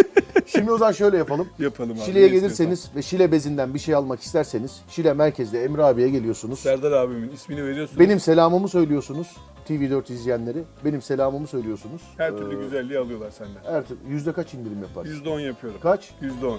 A: Şimdi o zaman şöyle yapalım.
M: Yapalım abi,
A: Şile'ye
M: ne
A: gelirseniz ve Şile bezinden bir şey almak isterseniz Şile merkezde Emre abiye geliyorsunuz.
M: Serdar abimin ismini veriyorsun.
A: Benim selamımı söylüyorsunuz TV4 izleyenleri. Benim selamımı söylüyorsunuz.
M: her türlü
A: Ee,
M: güzelliği alıyorlar senden.
A: Her türlü. Yüzde kaç indirim yapar?
M: %10 yapıyorum.
A: Kaç?
M: %10.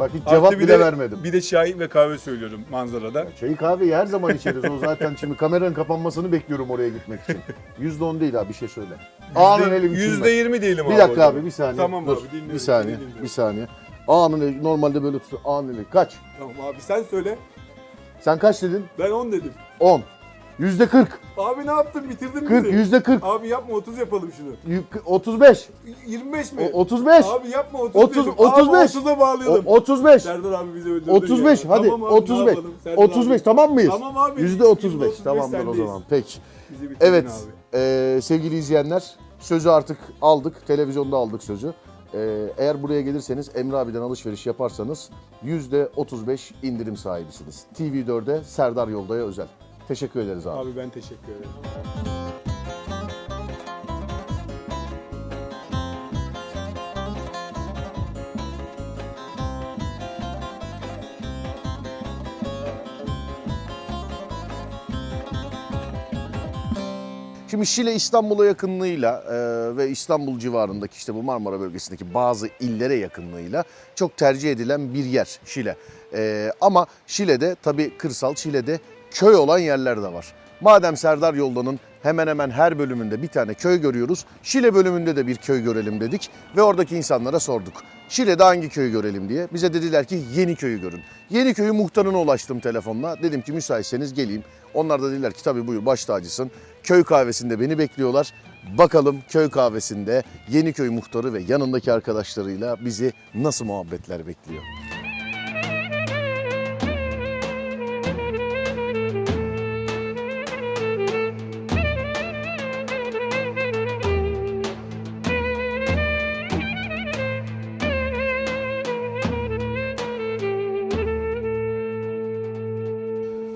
A: Bak hiç
M: Artı
A: cevap
M: bir
A: bile
M: de-
A: vermedim.
M: Bir de çay ve kahve söylüyorum manzarada.
A: Çayı kahveyi her zaman içeriz. O zaten şimdi kameranın kapanmasını bekliyorum oraya gitmek için. Yüzde on değil abi bir şey söyle. Anın elim
M: Yüzde yirmi diyelim
A: Bir
M: abi o
A: dakika
M: zaman.
A: abi bir saniye.
M: Tamam
A: Dur,
M: abi, dinliyorum
A: Bir
M: seni,
A: saniye
M: dinliyorum.
A: bir saniye. Anın eli normalde böyle tutuyor. Anın eli kaç?
M: Tamam abi sen söyle.
A: Sen kaç dedin?
M: Ben 10 dedim.
A: 10. Yüzde 40.
M: *laughs* Abi ne yaptın bitirdin
A: Kırk,
M: bizi.
A: yüzde kırk.
M: Abi yapma 30 yapalım şunu.
A: Yük- 35.
M: 25 mi?
A: O- 35.
M: Abi yapma 30.
A: 30, 35.
M: 30'a bağlayalım.
A: O- 35.
M: Serdar abi bizi öldürdü.
A: 35
M: ya.
A: hadi
M: Tamam abi, ne
A: 35.
M: yapalım? Serdar abi.
A: 35 tamam mıyız?
M: Tamam abi.
A: Yüzde 35.
M: %35
A: Tamamdır o
M: sendeyiz.
A: zaman. Peki.
M: Bizi bitirdin
A: Evet
M: abi.
A: eee, sevgili izleyenler sözü artık aldık. Televizyonda aldık sözü. Eee, eğer buraya gelirseniz Emre abiden alışveriş yaparsanız yüzde 35 indirim sahibisiniz. TV4'e Serdar Yolda'ya özel. Teşekkür ederiz abi.
M: Abi ben teşekkür ederim.
A: Şimdi Şile İstanbul'a yakınlığıyla e, ve İstanbul civarındaki işte bu Marmara bölgesindeki bazı illere yakınlığıyla çok tercih edilen bir yer Şile. E, ama Şile'de tabii kırsal Şile'de köy olan yerler de var. Madem Serdar Yolda'nın hemen hemen her bölümünde bir tane köy görüyoruz. Şile bölümünde de bir köy görelim dedik ve oradaki insanlara sorduk. Şile'de hangi köyü görelim diye. Bize dediler ki yeni köyü görün. Yeni köyü muhtarına ulaştım telefonla. Dedim ki müsaitseniz geleyim. Onlar da dediler ki tabii buyur baş tacısın. Köy kahvesinde beni bekliyorlar. Bakalım köy kahvesinde Yeniköy muhtarı ve yanındaki arkadaşlarıyla bizi nasıl muhabbetler bekliyor.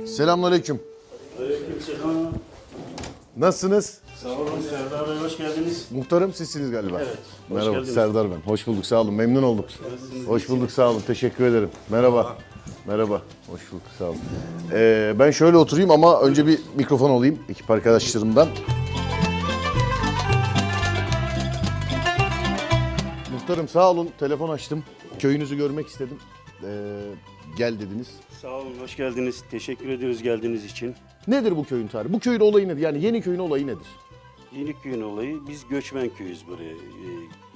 A: Selamünaleyküm.
N: Aleykümselam.
A: Nasılsınız?
N: Sağ olun Serdar Bey, hoş geldiniz.
A: Muhtarım sizsiniz galiba.
N: Evet, hoş
A: Merhaba
N: geldiniz.
A: Serdar ben. Hoş bulduk sağ olun memnun oldum.
N: geldiniz.
A: Hoş bulduk sağ olun teşekkür ederim. Merhaba. Merhaba. Hoş bulduk sağ olun. Ee, ben şöyle oturayım ama önce bir mikrofon alayım ekip arkadaşlarımdan. Muhtarım sağ olun telefon açtım. Köyünüzü görmek istedim. Ee, gel dediniz.
N: Sağ olun, hoş geldiniz. Teşekkür ediyoruz geldiğiniz için.
A: Nedir bu köyün tarihi? Bu köyün olayı nedir? Yani yeni köyün olayı nedir?
N: Yeni köyün olayı, biz göçmen köyüz buraya e,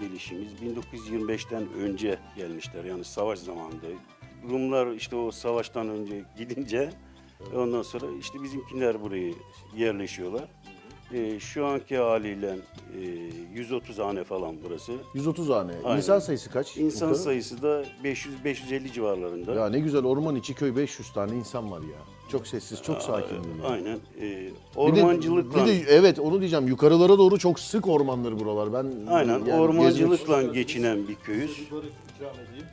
N: gelişimiz. 1925'ten önce gelmişler, yani savaş zamanında. Rumlar işte o savaştan önce gidince, ondan sonra işte bizimkiler buraya yerleşiyorlar. E, şu anki haliyle e, 130 hane falan burası.
A: 130 hane.
N: Aynen.
A: İnsan E. sayısı kaç?
N: İnsan
A: muhtarım?
N: sayısı da 500-550 civarlarında.
A: Ya ne güzel orman içi köy 500 tane insan var ya. Çok sessiz, çok sakin. bir yer.
N: Aynen. Ee,
A: Bir de-
N: ormancılıkla
A: Bir de, evet onu diyeceğim. Yukarılara doğru çok sık ormandır buralar. Ben
N: aynen
A: yani gezmek-
N: ormancılıkla geçinen bir köyüz.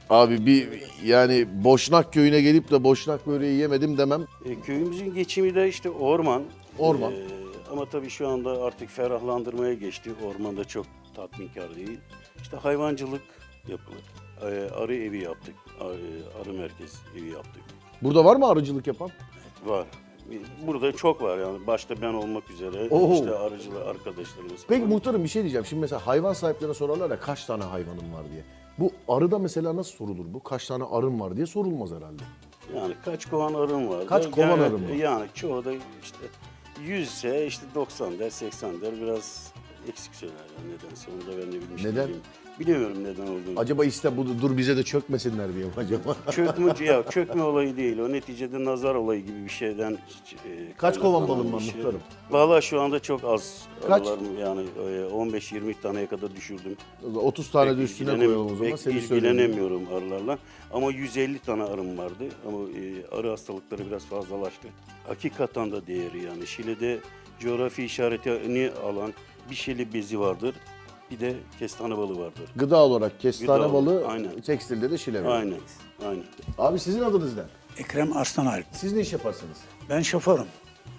A: Abi bir yani Boşnak köyüne gelip de Boşnak böreği yemedim demem.
N: Ee, köyümüzün geçimi de işte orman.
A: Orman.
N: Ee, ama tabii şu anda artık ferahlandırmaya geçti. Orman da çok tatminkar değil. İşte hayvancılık yapılır. Ee, arı evi yaptık. Arı, arı merkez evi yaptık.
A: Burada var mı arıcılık yapan?
N: Var. Burada çok var yani. Başta ben olmak üzere.
A: Oo.
N: işte arıcılar arkadaşlarımız.
A: Peki muhtarım bir şey diyeceğim. Şimdi mesela hayvan sahiplerine sorarlar ya kaç tane hayvanım var diye. Bu arıda mesela nasıl sorulur bu? Kaç tane arım var diye sorulmaz herhalde.
N: Yani kaç kovan arın var?
A: Kaç kovan
N: yani,
A: arın var?
N: Yani çoğu da işte 100 ise işte 90 der, 80 der biraz eksik söyler yani nedense. Onu da ben ne bilmiş
A: Neden?
N: değilim. Bilemiyorum neden olduğunu.
A: Acaba işte bu dur bize de çökmesinler diye mi acaba?
N: Çökme, ya çökme olayı değil. O neticede nazar olayı gibi bir şeyden. e,
A: Kaç kovan balın
N: kaynaklanan
A: var
N: bir şey.
A: muhtarım?
N: Valla şu anda çok az.
A: Kaç?
N: Aralarım yani e, 15-20 taneye kadar düşürdüm.
A: 30 tane de üstüne koyalım o zaman,
N: Pek
A: seni söyleyeyim.
N: ilgilenemiyorum arılarla. Ama 150 tane arım vardı. Ama e, arı hastalıkları biraz fazlalaştı. Hakikaten da değeri yani. Şile'de coğrafi işaretini alan bir şili bezi vardır. Bir de kestane balı vardır.
A: Gıda olarak kestane
N: Gıda
A: balı,
N: olarak, aynen.
A: tekstilde de şile var.
N: Aynen, aynen.
A: Abi sizin adınız ne?
O: Ekrem Arslan Alp.
A: Siz ne iş yaparsınız?
O: Ben şoförüm.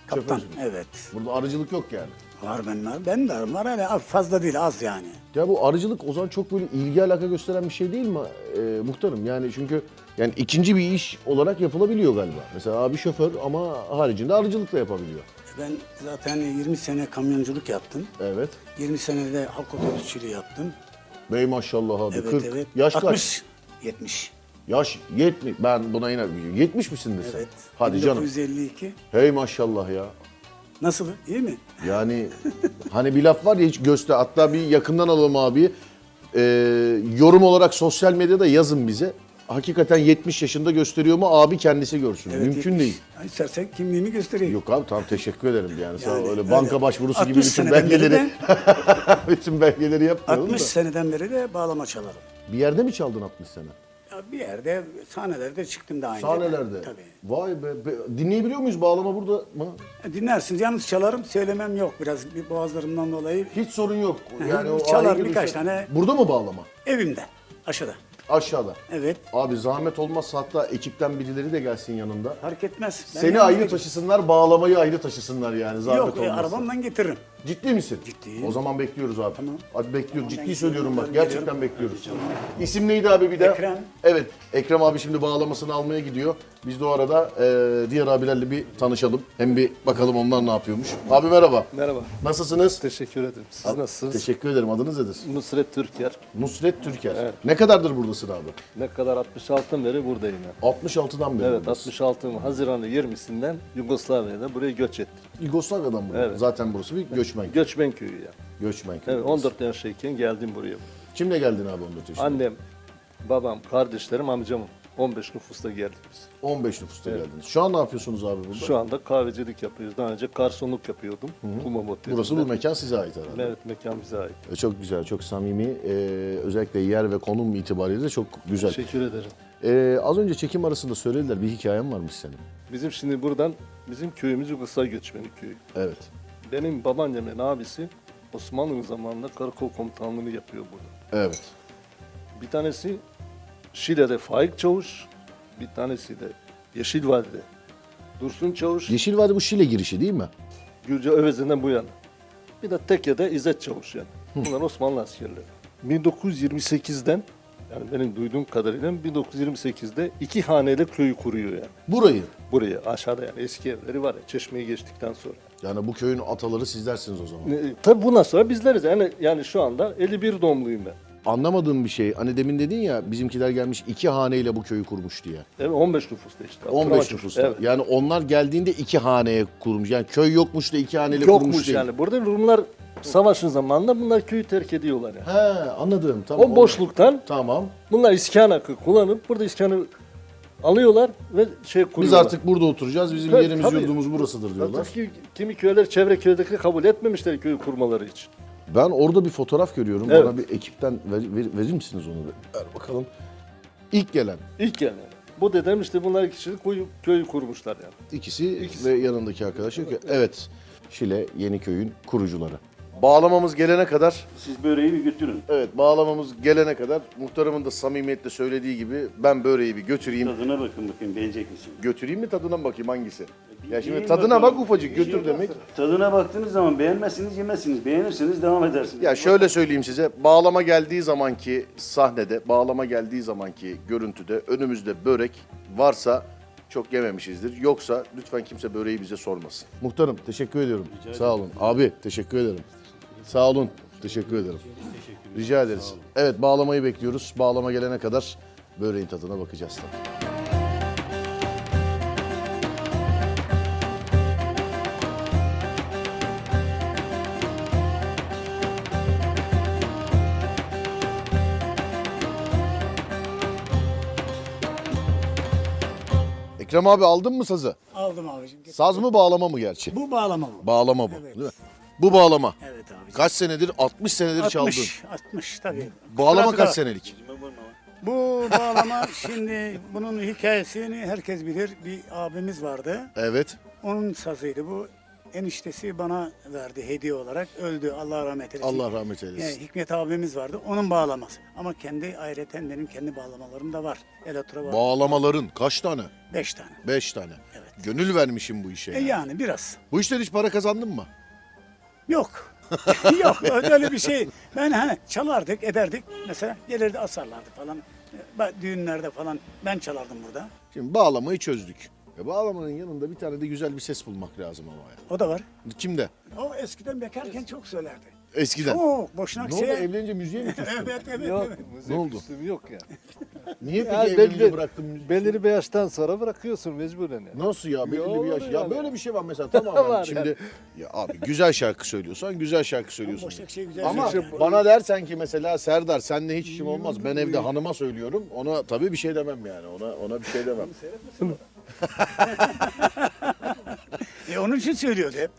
O: Kaptan.
A: Şoförsünüz.
O: Evet.
A: Burada arıcılık yok yani.
O: Var benim. Benim de arım var. Hani fazla değil az yani.
A: Ya bu arıcılık o zaman çok böyle ilgi alaka gösteren bir şey değil mi e, muhtarım? Yani çünkü yani ikinci bir iş olarak yapılabiliyor galiba. Mesela abi şoför ama haricinde arıcılık da yapabiliyor.
O: Ben zaten 20 sene kamyonculuk yaptım.
A: Evet.
O: 20 senede halk otobüsçülüğü yaptım.
A: Bey maşallah abi
O: Evet,
A: 40.
O: evet.
A: Yaş
O: 60,
A: kaç?
O: 70.
A: Yaş 70. Ben buna inanmıyorum. 70 misin de sen?
O: Evet.
A: Hadi canım.
O: 1952.
A: Hey maşallah ya.
O: Nasıl? İyi mi?
A: Yani hani bir laf var ya hiç göster. Hatta bir yakından alalım abi. Ee, yorum olarak sosyal medyada yazın bize. Hakikaten 70 yaşında gösteriyor mu abi kendisi görsün.
O: Evet,
A: Mümkün
O: 70.
A: değil. *laughs*
O: Ay, İstersen kimliğimi göstereyim.
A: Yok abi tamam teşekkür ederim yani. Sen
O: Yani,
A: öyle
O: öyle.
A: banka başvurusu gibi
O: 60
A: bütün
O: seneden beri
A: *laughs* belgeleri bütün belgeleri yapmayalım
O: 60
A: da.
O: seneden beri de bağlama çalarım.
A: Bir yerde mi çaldın 60 sene?
O: Ya Bir yerde sahnelerde çıktım daha önce.
A: Sahnelerde.
O: Tabii.
A: Vay be, be- Dinleyebiliyor muyuz bağlama burada mı?
O: E, Dinlersiniz. Yalnız çalarım, söylemem yok biraz bir boğazlarımdan dolayı.
A: Hiç sorun yok.
O: Yani
A: o
O: çalar
A: ayrı
O: birkaç
A: bir şey.
O: tane
A: Burada mı bağlama?
O: evimde, aşağıda.
A: Aşağıda.
O: Evet.
A: Abi zahmet olmazsa hatta ekipten birileri de gelsin yanında.
O: Fark etmez. Ben
A: Seni
O: yanımda-
A: ayrı taşısınlar, bağlamayı ayrı taşısınlar yani zahmet
O: Yok, e,
A: olmazsa.
O: arabamdan getiririm.
A: Ciddi misin? Ciddiyim. O zaman bekliyoruz abi. Abi bekliyoruz. Ciddi söylüyorum bak. Gerçekten bekliyoruz. İsim neydi abi bir daha? Ekrem. Evet. Ekrem abi şimdi bağlamasını almaya gidiyor. Biz de o arada eee, diğer abilerle bir tanışalım. Hem bir bakalım onlar ne yapıyormuş. Abi merhaba.
P: Merhaba.
A: Nasılsınız?
P: Teşekkür ederim. Siz nasılsınız?
A: Teşekkür ederim. Adınız nedir?
P: Nusret Türker.
A: Nusret Türker. Ne kadardır buradasın abi?
P: Ne kadar 66'dan beri buradayım ya.
A: 66'dan beri
P: Evet 66'ın Haziran'ın 20'sinden Yugoslavya'da buraya göç ettim.
A: Yugoslavya'dan buraya.
P: Evet.
A: Zaten burası bir göçmen köyü.
P: Göçmen köyü ya.
A: Göçmen köyü.
P: Evet 14 yaşındayken geldim buraya.
A: Kimle geldin abi 14 yaşında?
P: Annem, babam, kardeşlerim, amcamım. 15 nüfusta geldik biz.
A: 15 nüfusta
P: Evet.
A: geldiniz. Şu an ne yapıyorsunuz abi burada?
P: Şu anda kahvecilik yapıyoruz. Daha önce garsonluk yapıyordum. Kumam Oteli'nde.
A: Burası bu mekan size ait herhalde.
P: Evet mekan bize ait.
A: E, Çok güzel, çok samimi. E, özellikle yer ve konum itibariyle de çok güzel.
P: Teşekkür ederim.
A: E, az önce çekim arasında söylediler bir hikayen varmış senin.
P: Bizim şimdi buradan bizim köyümüz Yugoslavya göçmeni köyü.
A: Evet.
P: Benim babaannemin abisi Osmanlı zamanında karakol komutanlığını yapıyor burada.
A: Evet.
P: Bir tanesi Şile'de Faik Çavuş, bir tanesi de Yeşilvadi'de Dursun Çavuş,
A: Yeşil Vadi bu Şile girişi değil mi?
P: Gürcü Övezi'nden bu yana. Bir de Tekke'de İzzet Çavuş yani. Bunlar Osmanlı askerleri. 1928'den yani benim duyduğum kadarıyla 1928'de iki haneli köyü kuruyor yani.
A: Burayı?
P: Burayı aşağıda yani eski evleri var ya çeşmeyi geçtikten sonra.
A: Yani bu köyün ataları sizlersiniz o zaman.
P: Ne- e, Tabii bundan sonra bizleriz. Yani, yani şu anda 51 doğumluyum ben.
A: Anlamadığım bir şey. Hani demin dedin ya bizimkiler gelmiş iki haneyle bu köyü kurmuş diye.
P: Evet 15 nüfusta işte.
A: 15
P: Abdurrahman
A: nüfusta.
P: Evet.
A: Yani onlar geldiğinde iki haneye kurmuş. Yani köy yokmuş da iki haneli kurmuş
P: Yokmuş
A: değil.
P: yani. Burada Rumlar savaşın zamanında bunlar köyü terk ediyorlar yani.
A: He anladım. Tamam.
P: o boşluktan
A: tamam.
P: bunlar iskan hakkı kullanıp burada iskanı alıyorlar ve şey kuruyorlar.
A: Biz artık burada oturacağız. Bizim
P: Tabii,
A: yerimiz
P: tabii.
A: yurdumuz burasıdır diyorlar.
P: Tabii ki kimi köyler çevre köydekileri kabul etmemişler köyü kurmaları için.
A: Ben orada bir fotoğraf görüyorum.
P: Evet.
A: Bana bir ekipten ver- ver- verir misiniz onu? da? Ver bakalım. İlk gelen.
P: İlk yani. Bu dedem işte bunlar kişilik köyü, köyü kurmuşlar yani.
A: İkisi, ve yanındaki arkadaş. yok ya. Evet. Şile Yeniköy'ün kurucuları. Bağlamamız gelene kadar...
N: Siz böreği bir götürün.
A: Evet bağlamamız gelene kadar muhtarımın da samimiyetle söylediği gibi ben böreği bir götüreyim.
N: Tadına bakın bakayım beğenecek misin?
A: Götüreyim mi tadına mı bakayım hangisi? Ya şimdi
N: yiyin
A: tadına
N: bakalım.
A: bak ufacık götür demek.
N: Tadına baktığınız zaman beğenmezsiniz yemezsiniz. Beğenirseniz devam edersiniz.
A: Ya şöyle söyleyeyim size. Bağlama geldiği zamanki sahnede, bağlama geldiği zamanki görüntüde önümüzde börek varsa çok yememişizdir. Yoksa lütfen kimse böreği bize sormasın. Muhtarım teşekkür ediyorum. Sağ olun. Abi teşekkür ederim. Sağ olun. Teşekkür ederim. Rica ederiz. Evet bağlamayı bekliyoruz. Bağlama gelene kadar böreğin tadına bakacağız tabii. Ekrem abi aldın mı sazı?
O: Aldım abicim.
A: Saz mı bağlama mı gerçi?
O: Bu bağlama bu.
A: Bağlama bu. Değil mi? Bu bağlama.
O: Evet abi.
A: Kaç senedir? 60 senedir çaldın.
O: 60, 60 tabii.
A: Bağlama
O: Kusura
A: kaç
O: bakma.
A: senelik?
O: Bu bağlama şimdi bunun hikayesini herkes bilir. Bir abimiz vardı.
A: Evet.
O: Onun sazıydı bu. Eniştesi bana verdi hediye olarak. Öldü Allah rahmet eylesin.
A: Allah rahmet eylesin.
O: Yani Hikmet abimiz vardı. Onun bağlaması. Ama kendi ayreten benim kendi bağlamalarım da var. Elektra var.
A: Bağlamaların kaç tane?
O: Beş tane.
A: Beş tane. Gönül vermişim bu işe.
O: E yani biraz. *laughs*
A: Bu işten hiç para kazandın mı?
O: Yok.
A: *laughs*
O: Yok öyle bir şey. Ben hani çalardık ederdik. Mesela gelirdi asarlardı falan. Ba- Düğünlerde falan ben çalardım burada.
A: Şimdi bağlamayı çözdük. E bağlamanın yanında bir tane de güzel bir ses bulmak lazım ama yani.
O: O da var.
A: Kimde?
O: O eskiden bekarken çok söylerdi.
A: Eskiden.
O: Çok boşuna şey-
A: Ne oldu, evlenince müziğe
O: *laughs*
A: mi küstün?
O: evet evet
A: Yok.
O: evet.
A: Ne oldu?
P: Yok ya.
A: Niye peki
P: Ya
A: evlenince
P: belli-
A: bıraktın
P: Belirli bir yaştan sonra bırakıyorsun mecburen yani.
A: Nasıl ya belli bir yaş. Ya böyle bir şey var mesela
P: *laughs* Var
A: tamam
P: ya.
A: şimdi ya abi güzel şarkı söylüyorsan güzel şarkı söylüyorsun.
O: şey güzel
A: Ama
O: şarkı.
A: bana dersen ki mesela Serdar senle hiç işim olmaz. Ben evde hanıma söylüyorum. Ona tabii bir şey demem yani. Ona ona bir şey demem.
O: E onun için söylüyordu hep.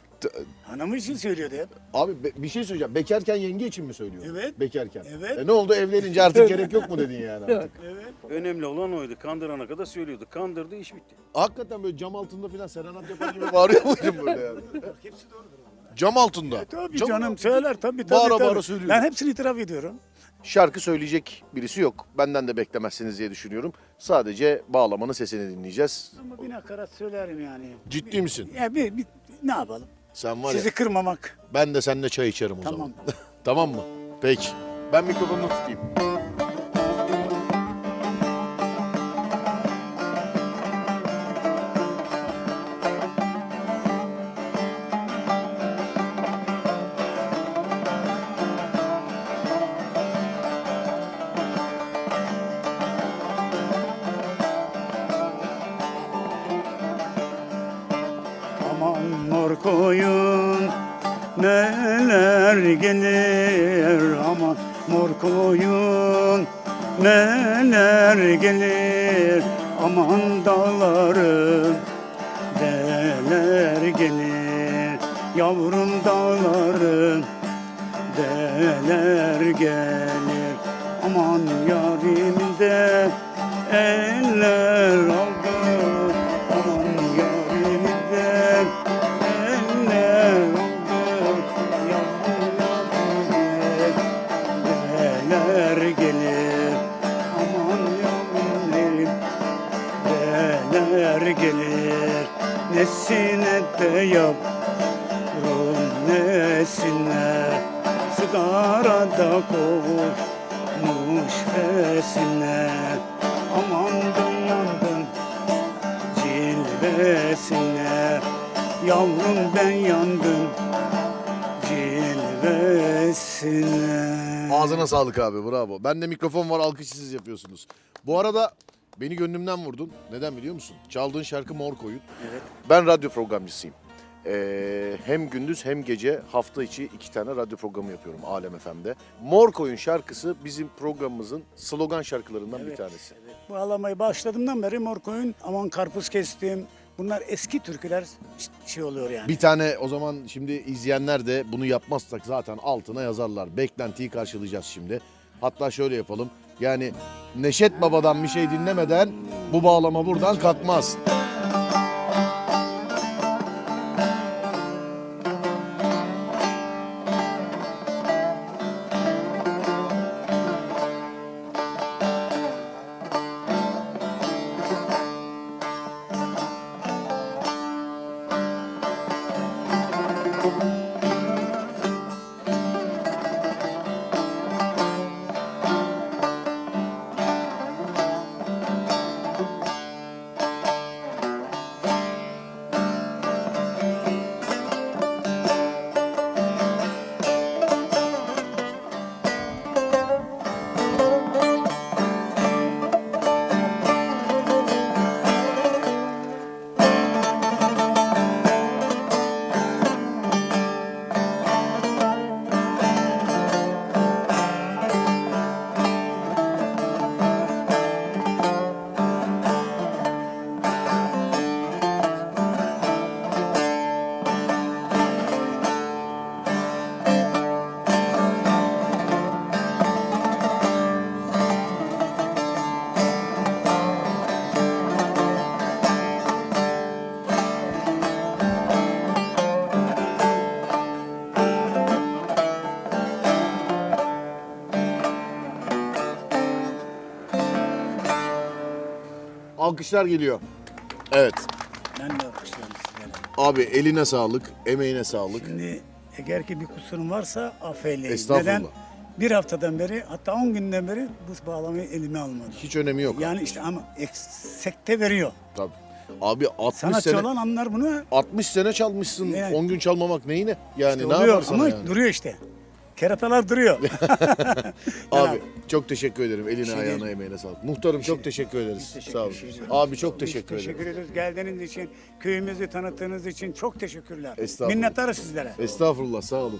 O: Hanımı için söylüyordu hep.
A: Abi be- bir şey söyleyeceğim. Bekarken yenge için mi söylüyorsun?
O: Evet.
A: Bekarken.
O: Evet.
A: E ne oldu evlenince artık gerek yok mu dedin
N: *laughs*
A: yani artık?
N: Önemli olan oydu. Kandırana kadar söylüyordu. Kandırdı iş bitti.
A: Hakikaten böyle cam altında falan serenat yapar gibi bağırıyor muydun böyle yani? Cam *laughs* altında.
O: E, Tabii
A: Cam-
O: canım söyler tabii tabii.
A: Bağıra
O: tabii.
A: bağıra söylüyor.
O: Ben hepsini itiraf ediyorum.
A: Şarkı söyleyecek birisi yok. Benden de beklemezsiniz diye düşünüyorum. Sadece bağlamanın sesini dinleyeceğiz.
O: Ama bir nakarat söylerim yani.
A: Ciddi misin?
O: Ya bir, bir ne yapalım?
A: Sen var ya-
Q: Sizi kırmamak.
A: Ben de seninle çay içerim o zaman. *laughs* tamam mı? Peki. Ben mikrofonunu tutayım.
Q: Aman mor koyun neler gelir Aman mor koyun neler gelir Aman dağların deler gelir Yavrum dağların deler gelir Aman yarim de eller aldı Aman yarim de eller aldı Yavrum deler gelir Aman yavrum derim Deler gelir Nesine de yap Rum nesine Sigara da kovulmuş fesine Aman dünyanın cilvesine Yavrum ben yandım cilvesine
A: Ağzına sağlık abi bravo. Ben de mikrofon var alkış siz yapıyorsunuz. Bu arada beni gönlümden vurdun. Neden biliyor musun? Çaldığın şarkı Mor Koyun.
Q: Evet.
A: Ben radyo programcısıyım. Ee, hem gündüz hem gece hafta içi iki tane radyo programı yapıyorum Alem FM'de. Mor Koyun şarkısı bizim programımızın slogan şarkılarından bir tanesi.
Q: Bu ağlamayı başladığımdan beri Morkoyun, aman karpuz kestim. Bunlar eski türküler şey oluyor yani.
A: Bir tane o zaman şimdi izleyenler de bunu yapmazsak zaten altına yazarlar. Beklentiyi karşılayacağız şimdi. Hatta şöyle yapalım. Yani Neşet Baba'dan bir şey dinlemeden bu bağlama buradan kalkmaz. Alkışlar geliyor. Evet.
Q: Ben de alkışlıyorum sizleri.
A: Abi eline sağlık, emeğine sağlık.
Q: Şimdi Eğer ki bir kusurum varsa affeyleyin.
A: Estağfurullah.
Q: Neden? Bir haftadan beri hatta 10 günden beri bu bağlamayı elime almadım.
A: Hiç önemi yok.
Q: Yani işte ama eksekte veriyor.
A: Tabii. Abi 60
Q: Sanatçı
A: sene
Q: olan anlar bunu.
A: 60 sene çalmışsın. 10 gün çalmamak neyine? Yani
Q: İşte
A: Hani ne
Q: oluyor
A: yaparsan
Q: ama
A: yani.
Q: duruyor işte.
A: *laughs*
Q: Keratalar duruyor. *laughs*
A: Abi çok teşekkür ederim. Eline
Q: Şey
A: ayağına
Q: değil.
A: emeğine sağlık. Muhtarım çok teşekkür ederiz. Sağ olun. Abi çok teşekkür ederim.
Q: Teşekkür ederiz geldiğiniz için, köyümüzü tanıttığınız için çok teşekkürler.
A: Estağfurullah.
Q: Minnettarız sizlere.
A: Estağfurullah sağ olun.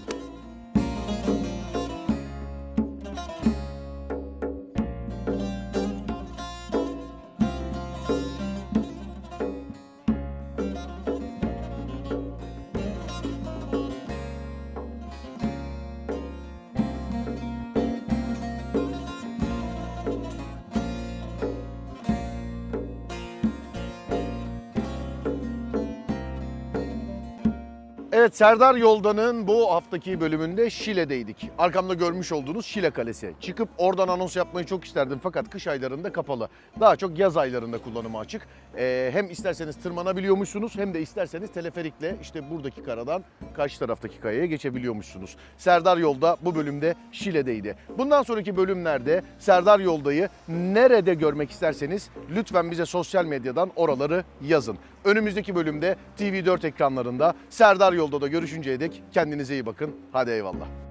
A: Evet Serdar Yoldan'ın bu haftaki bölümünde Şile'deydik. Arkamda görmüş olduğunuz Şile Kalesi. Çıkıp oradan anons yapmayı çok isterdim fakat kış aylarında kapalı. Daha çok yaz aylarında kullanıma açık. Ee, hem isterseniz tırmanabiliyormuşsunuz hem de isterseniz teleferikle işte buradaki karadan karşı taraftaki kayaya geçebiliyormuşsunuz. Serdar Yolda bu bölümde Şile'deydi. Bundan sonraki bölümlerde Serdar Yolda'yı nerede görmek isterseniz lütfen bize sosyal medyadan oraları yazın. Önümüzdeki bölümde TV4 ekranlarında Serdar Yolda'da görüşünceye dek kendinize iyi bakın. Hadi eyvallah.